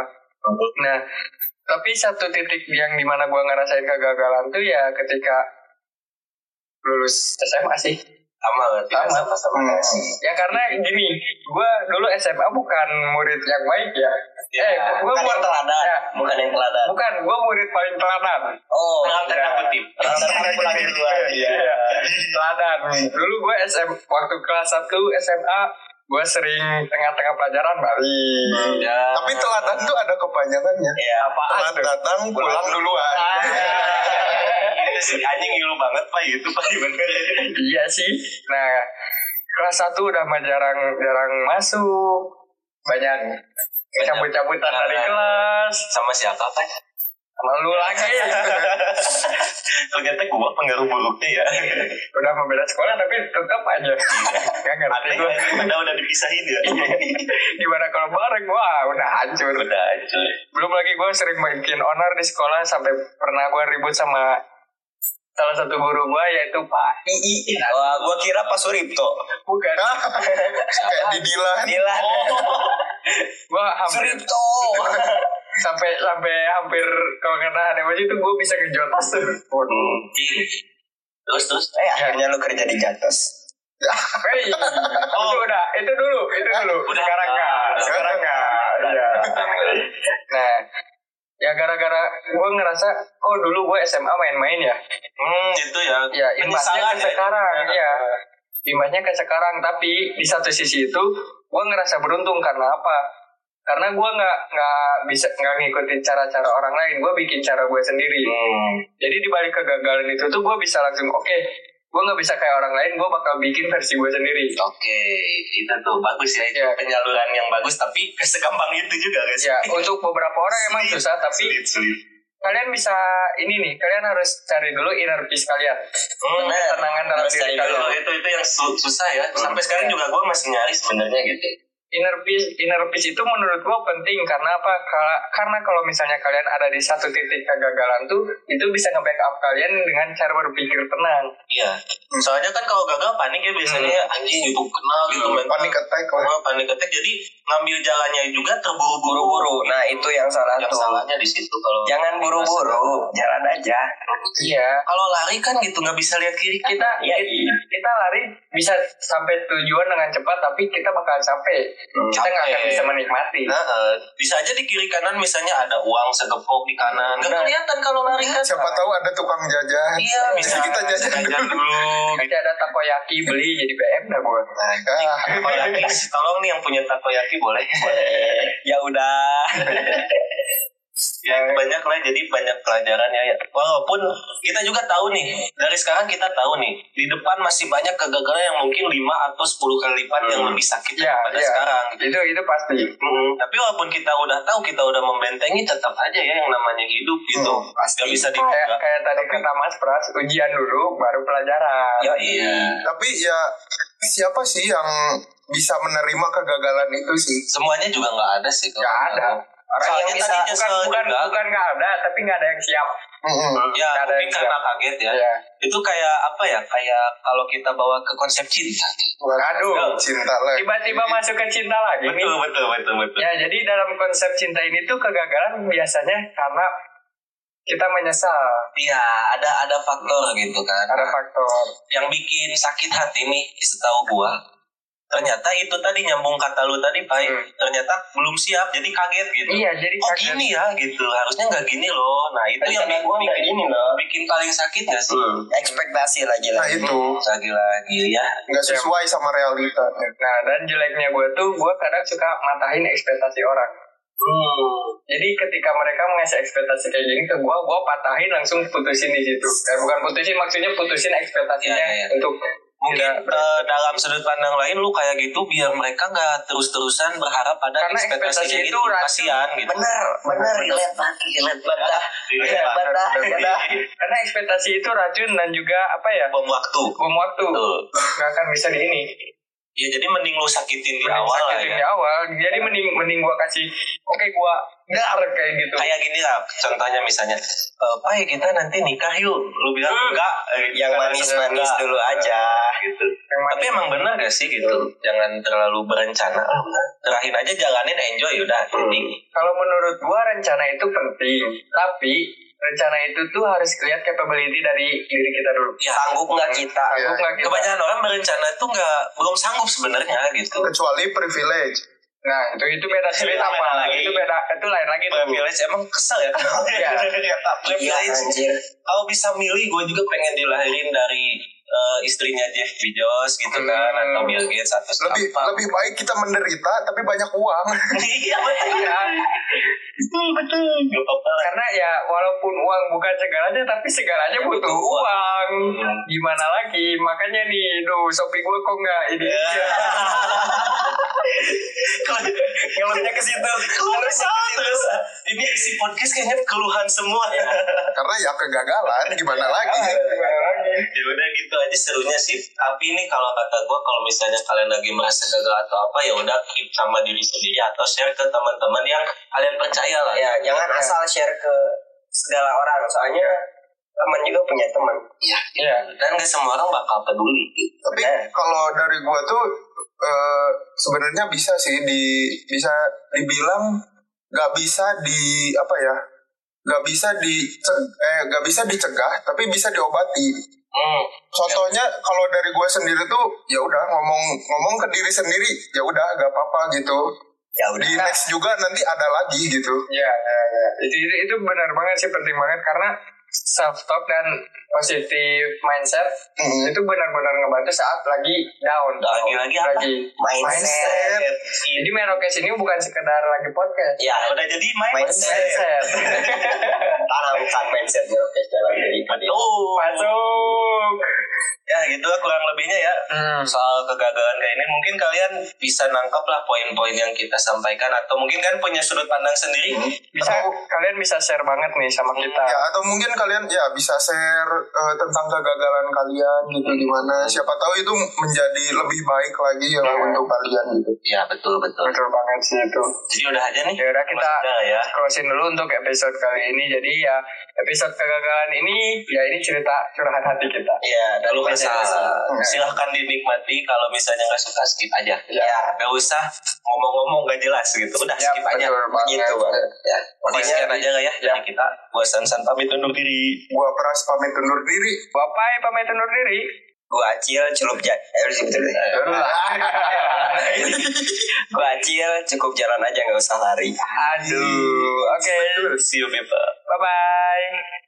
[SPEAKER 6] Nah, tapi satu titik yang dimana gue ngerasain kegagalan tuh ya ketika lulus SMA sih.
[SPEAKER 5] sama lah tidak
[SPEAKER 6] Sama.
[SPEAKER 5] sama sama kayak sih.
[SPEAKER 6] Ya karena gini, gue dulu SMA bukan murid yang baik ya.
[SPEAKER 5] Ya,
[SPEAKER 6] eh, gue
[SPEAKER 2] bukan
[SPEAKER 6] buat
[SPEAKER 2] yang teladan
[SPEAKER 6] Ya.
[SPEAKER 2] bukan yang teladan
[SPEAKER 6] Bukan, gue murid paling teladan.
[SPEAKER 2] oh
[SPEAKER 5] Nah, tanda kutip.
[SPEAKER 2] Teladan pulang duluan
[SPEAKER 6] Iya, teladan. Dulu gue SM, waktu kelas 1 SMA, gue sering tengah-tengah pelajaran balik.
[SPEAKER 5] Ya.
[SPEAKER 4] Tapi teladan tuh ada kepanjangannya.
[SPEAKER 5] ya apa
[SPEAKER 4] Telat datang pulang duluan.
[SPEAKER 6] Iya.
[SPEAKER 5] itu sih anjing ngilu banget pak itu pak bener.
[SPEAKER 6] Iya sih. Nah, kelas 1 udah mah jarang-jarang masuk. Banyak cabut-cabutan dari kelas.
[SPEAKER 5] Sama siapa pak?
[SPEAKER 6] Sama lu lagi.
[SPEAKER 5] Ternyata gua pengaruh buruknya ya.
[SPEAKER 6] udah mau beda sekolah tapi tetap aja. Gak ngerti
[SPEAKER 5] Aneh
[SPEAKER 6] gue.
[SPEAKER 5] kan? Udah udah dipisahin ya.
[SPEAKER 6] Gimana kalau bareng? Wah, udah hancur.
[SPEAKER 5] Udah aja.
[SPEAKER 6] belum lagi gue sering bikin honor di sekolah sampai pernah gue ribut sama salah satu guru gue yaitu Pak
[SPEAKER 2] ii wah gue kira Pak Suripto
[SPEAKER 6] bukan
[SPEAKER 4] Kayak didilan.
[SPEAKER 2] Dilan
[SPEAKER 5] Oh.
[SPEAKER 6] gue hampir
[SPEAKER 2] Suripto
[SPEAKER 6] sampai sampai hampir kalau kena ada aja itu gue bisa kejotas tuh
[SPEAKER 5] Mungkin. Terus terus.
[SPEAKER 2] eh akhirnya
[SPEAKER 5] kan.
[SPEAKER 2] lu kerja di Jatos
[SPEAKER 6] Hei, itu udah itu dulu itu dulu
[SPEAKER 5] Udah.
[SPEAKER 6] sekarang enggak sekarang enggak Iya. nah ya gara-gara gue ngerasa oh dulu gue SMA main-main ya
[SPEAKER 5] Hmm, itu ya.
[SPEAKER 6] ya imbasnya
[SPEAKER 5] Penyesalan
[SPEAKER 6] ke
[SPEAKER 5] ya.
[SPEAKER 6] sekarang ya imbasnya ke sekarang tapi di satu sisi itu gue ngerasa beruntung karena apa karena gue nggak nggak bisa nggak ngikutin cara-cara orang lain gue bikin cara gue sendiri
[SPEAKER 5] Hmm.
[SPEAKER 6] jadi di balik kegagalan itu tuh gue bisa langsung oke gue nggak bisa kayak orang lain gue bakal bikin versi gue sendiri
[SPEAKER 5] Oke, itu tuh bagus ya. Itu
[SPEAKER 6] Iya.
[SPEAKER 5] Penyaluran yang bagus tapi segampang itu juga guys.
[SPEAKER 6] ya untuk beberapa orang emang susah tapi
[SPEAKER 5] sulit sulit.
[SPEAKER 6] kalian bisa ini nih kalian harus cari dulu inner peace kalian
[SPEAKER 5] Hmm,
[SPEAKER 2] Bener.
[SPEAKER 6] ketenangan dalam
[SPEAKER 2] Harus
[SPEAKER 6] diri
[SPEAKER 2] cari
[SPEAKER 5] Kalau
[SPEAKER 6] kalian
[SPEAKER 5] itu itu yang su- susah ya. Sampai sekarang juga gue masih nyari sebenarnya gitu.
[SPEAKER 6] inner peace inner peace itu menurut gua penting karena apa Kala- karena kalau misalnya kalian ada di satu titik kegagalan tuh itu bisa nge-backup kalian dengan cara berpikir tenang
[SPEAKER 5] Iya. Soalnya kan kalau gagal panik ya biasanya anjing itu kenal gitu mental.
[SPEAKER 4] Hmm. Panik attack lah.
[SPEAKER 5] Oh, panik attack jadi ngambil jalannya juga terburu-buru.
[SPEAKER 2] buru-buru nah itu yang salah
[SPEAKER 5] Yang
[SPEAKER 2] tuh
[SPEAKER 5] salahnya di situ kalau
[SPEAKER 2] jangan buru-buru jalan aja
[SPEAKER 6] iya
[SPEAKER 5] Kalau lari kan gitu nggak bisa lihat kiri kanan. Gitu.
[SPEAKER 6] kita
[SPEAKER 2] Ya,
[SPEAKER 6] ki- kita lari bisa sampai tujuan dengan cepat tapi kita bakal capek
[SPEAKER 2] Hmm,
[SPEAKER 6] kita nggak akan
[SPEAKER 5] Capek.
[SPEAKER 6] bisa menikmati
[SPEAKER 5] Nah, eh, bisa aja di kiri kanan misalnya ada uang segepok di kanan. Nggak
[SPEAKER 6] Nah.
[SPEAKER 5] kelihatan kalau lari kan.
[SPEAKER 4] Siapa tahu ada tukang jajan.
[SPEAKER 5] Iya, bisa
[SPEAKER 4] Jadi Iya. kita jajan dulu.
[SPEAKER 5] dulu.
[SPEAKER 6] nanti ada takoyaki beli jadi BM
[SPEAKER 2] Nah,
[SPEAKER 6] dah gua
[SPEAKER 4] Ah,
[SPEAKER 5] Takoyaki, tolong nih yang punya takoyaki boleh.
[SPEAKER 2] Eh, ya udah
[SPEAKER 5] ya banyak lah jadi banyak pelajaran ya ya. walaupun kita juga tahu nih dari sekarang kita tahu nih di depan masih banyak kegagalan yang mungkin 5 atau 10 kali lipat yang lebih sakit
[SPEAKER 6] Iya,
[SPEAKER 5] daripada
[SPEAKER 6] iya.
[SPEAKER 5] sekarang
[SPEAKER 6] itu itu pasti
[SPEAKER 5] Mm, tapi walaupun kita udah tahu kita udah membentengi tetap aja ya yang namanya hidup gitu pasti Gak bisa
[SPEAKER 6] kayak
[SPEAKER 5] dibuka
[SPEAKER 6] kayak tadi kata Mas Pras ujian dulu baru pelajaran
[SPEAKER 2] ya
[SPEAKER 5] iya
[SPEAKER 4] Tapi ya siapa sih yang bisa menerima kegagalan itu sih?
[SPEAKER 5] semuanya juga nggak ada sih kalau
[SPEAKER 6] Nggak ada.
[SPEAKER 5] Orang
[SPEAKER 2] Soalnya
[SPEAKER 5] yang
[SPEAKER 2] bisa-
[SPEAKER 5] tadi
[SPEAKER 6] bukan
[SPEAKER 5] nyesel
[SPEAKER 6] bukan
[SPEAKER 5] juga.
[SPEAKER 6] bukan nggak ada tapi nggak ada yang siap
[SPEAKER 4] Mm-mm.
[SPEAKER 5] Ya,
[SPEAKER 6] Nggak ada
[SPEAKER 5] mungkin
[SPEAKER 6] yang
[SPEAKER 5] karena kaget ya.
[SPEAKER 6] Iya.
[SPEAKER 5] Itu kayak apa ya? Kayak kalau kita bawa ke konsep cinta.
[SPEAKER 6] Aduh.
[SPEAKER 4] cinta lah.
[SPEAKER 6] tiba-tiba masuk ke cinta lagi
[SPEAKER 5] Iya.
[SPEAKER 6] nih
[SPEAKER 5] Betul, betul, betul, betul.
[SPEAKER 6] ya jadi dalam konsep cinta ini tuh kegagalan biasanya karena kita menyesal
[SPEAKER 5] Iya, ada ada faktor gitu kan.
[SPEAKER 6] ada faktor
[SPEAKER 5] yang bikin sakit hati nih setahu gua ternyata itu tadi nyambung kata lu tadi Pak
[SPEAKER 6] Hmm.
[SPEAKER 5] ternyata belum siap jadi kaget gitu
[SPEAKER 6] iya jadi
[SPEAKER 5] kok
[SPEAKER 6] kaget.
[SPEAKER 5] gini ya gitu harusnya nggak gini loh nah itu yang
[SPEAKER 2] Rencana
[SPEAKER 5] bikin,
[SPEAKER 2] gua nggak
[SPEAKER 5] bikin,
[SPEAKER 2] gini loh.
[SPEAKER 5] bikin paling sakit gak sih
[SPEAKER 2] ekspektasi lagi lah
[SPEAKER 4] Nah itu
[SPEAKER 5] lagi-lagi ya
[SPEAKER 4] nggak sesuai sama realita.
[SPEAKER 6] nah dan jeleknya gue tuh gue kadang suka matahin ekspektasi orang
[SPEAKER 5] Hmm.
[SPEAKER 6] jadi ketika mereka mengasih ekspektasi kayak gini ke gue gue patahin langsung putusin di situ dan bukan putusin maksudnya putusin ekspektasinya
[SPEAKER 5] Iya, iya.
[SPEAKER 6] untuk
[SPEAKER 5] mungkin
[SPEAKER 6] tidak ber-
[SPEAKER 5] eh, dalam sudut pandang lain lu kayak gitu biar mereka nggak terus-terusan berharap pada
[SPEAKER 6] Karena ekspektasi
[SPEAKER 5] ekspektasinya
[SPEAKER 6] itu
[SPEAKER 5] itu,
[SPEAKER 6] racun.
[SPEAKER 5] kasihan gitu
[SPEAKER 2] benar benar relate banget relate banget
[SPEAKER 5] Relate banget. Iya,
[SPEAKER 2] Badah, badah.
[SPEAKER 6] karena ekspektasi itu racun dan juga apa ya
[SPEAKER 5] bom waktu
[SPEAKER 6] bom waktu
[SPEAKER 5] Betul.
[SPEAKER 6] nggak akan bisa di ini
[SPEAKER 5] ya jadi mending lu sakitin di
[SPEAKER 6] Mending
[SPEAKER 5] awal lah
[SPEAKER 6] sakitin
[SPEAKER 5] ya
[SPEAKER 6] di awal jadi mending mending gue kasih oke gue dar kayak gitu
[SPEAKER 5] kayak gini lah contohnya misalnya e, Pai kita nanti nikah yuk lu bilang enggak eh,
[SPEAKER 2] yang
[SPEAKER 5] kita
[SPEAKER 2] manis-manis
[SPEAKER 5] langsung
[SPEAKER 2] dulu aja
[SPEAKER 5] gitu
[SPEAKER 6] Yang mana-
[SPEAKER 5] tapi emang benar gak sih gitu jangan terlalu berencana lah udah. terakhir aja jalanin enjoy udah ending
[SPEAKER 6] kalau menurut gua rencana itu penting tapi rencana itu tuh harus lihat capability dari diri kita dulu
[SPEAKER 5] ya
[SPEAKER 2] sanggup nggak kita
[SPEAKER 6] Iya. sanggup nggak kita
[SPEAKER 5] kebanyakan orang berencana tuh nggak belum sanggup sebenarnya gitu
[SPEAKER 4] Kecuali privilege.
[SPEAKER 6] nah itu itu beda cerita
[SPEAKER 5] Beda
[SPEAKER 6] pak
[SPEAKER 5] lagi.
[SPEAKER 6] itu beda itu lain lagi tuh
[SPEAKER 5] privilege emang kesel ya
[SPEAKER 6] Iya.
[SPEAKER 2] iya
[SPEAKER 5] privilege
[SPEAKER 2] anjir
[SPEAKER 5] kalau bisa milih gue juga pengen dilahirin dari eh, istrinya Jeff Bezos gitu kan
[SPEAKER 6] Hmm.
[SPEAKER 5] atau Bill Gates atau siapa
[SPEAKER 4] Lebih lebih baik kita menderita tapi banyak uang.
[SPEAKER 5] iya betul
[SPEAKER 6] Iya,
[SPEAKER 5] betul betul gak apa-apa lah.
[SPEAKER 6] karena ya walaupun uang bukan segalanya tapi segalanya butuh uang gimana lagi makanya nih duh sopi gue kok nggak ini
[SPEAKER 5] Ya.
[SPEAKER 6] Keluhnya ke situ.
[SPEAKER 5] Keluhan terus. Ini isi podcast kayaknya keluhan semua.
[SPEAKER 6] Iya.
[SPEAKER 4] Karena ya kegagalan gimana lagi?
[SPEAKER 2] Iya,
[SPEAKER 6] gimana lagi
[SPEAKER 5] Iya, ya udah gitu aja serunya sih. Tapi ini kalau kata gua kalau misalnya kalian lagi merasa gagal atau apa ya udah keep sama diri sendiri atau share ke teman-teman yang kalian percaya lah. Iya.
[SPEAKER 2] ya jangan asal share ke segala orang soalnya teman juga punya teman
[SPEAKER 6] iya
[SPEAKER 5] Iya. Dan gak semua orang bakal peduli. gitu.
[SPEAKER 4] Tapi
[SPEAKER 2] Eh.
[SPEAKER 4] kalau dari gua tuh eh, sebenarnya bisa sih di bisa dibilang nggak bisa di apa ya? Nggak bisa di eh nggak bisa dicegah tapi bisa diobati.
[SPEAKER 6] Hmm.
[SPEAKER 4] contohnya kalau dari gue sendiri tuh ya udah ngomong ngomong ke diri sendiri ya udah gak apa-apa gitu
[SPEAKER 2] ya
[SPEAKER 4] di
[SPEAKER 2] udah
[SPEAKER 6] Iya.
[SPEAKER 4] next juga nanti ada lagi gitu
[SPEAKER 6] Ya, ya, ya. Itu, itu, itu benar banget sih, penting banget karena self talk dan positive mindset
[SPEAKER 4] Mm.
[SPEAKER 6] itu benar-benar ngebantu saat lagi down.
[SPEAKER 5] Lagi-lagi apa?
[SPEAKER 6] Lagi.
[SPEAKER 2] mindset
[SPEAKER 6] Jadi Merokes ini bukan sekedar lagi podcast.
[SPEAKER 2] ya
[SPEAKER 5] Udah jadi mindset.
[SPEAKER 2] mindset tanamkan mindset ya oke dalam diri
[SPEAKER 5] Oh,
[SPEAKER 6] Masuk.
[SPEAKER 5] ya gitu lah kurang lebihnya ya. soal kegagalan kayak ini mungkin kalian bisa nangkep lah poin-poin yang kita sampaikan atau mungkin kan punya sudut pandang sendiri
[SPEAKER 6] Hmm. Bisa kalian bisa share banget nih sama kita.
[SPEAKER 4] ya atau mungkin kalian ya bisa share eh, tentang kegagalan kalian gitu gimana siapa tahu itu menjadi lebih baik lagi ya
[SPEAKER 6] Mm.
[SPEAKER 4] untuk kalian gitu
[SPEAKER 5] ya betul betul
[SPEAKER 6] Betul banget sih itu.
[SPEAKER 5] jadi udah aja nih
[SPEAKER 6] Ya udah kita
[SPEAKER 5] Udah ya
[SPEAKER 6] closing dulu untuk episode kali ini. Jadi ya episode kegagalan ini ya ini cerita curahan hati kita.
[SPEAKER 5] ya lalu kesal
[SPEAKER 6] Hmm.
[SPEAKER 5] silahkan dinikmati kalau misalnya nggak suka skip aja
[SPEAKER 6] Ya.
[SPEAKER 5] nggak usah ngomong-ngomong nggak jelas gitu udah
[SPEAKER 6] Ya,
[SPEAKER 5] skip aja
[SPEAKER 6] betul banget.
[SPEAKER 5] gitu banget ya jadi
[SPEAKER 6] Pokoknya-
[SPEAKER 5] sekian aja lah ya
[SPEAKER 6] Ya.
[SPEAKER 5] jadi kita bosan san pamit undur diri
[SPEAKER 4] gua peras pamit undur diri
[SPEAKER 6] Bapak pamit undur diri.
[SPEAKER 2] gua acil celup ja- eh, celup jalan gua acil cukup jalan aja nggak usah lari
[SPEAKER 6] Aduh, oke.
[SPEAKER 5] see you people
[SPEAKER 6] Bye bye.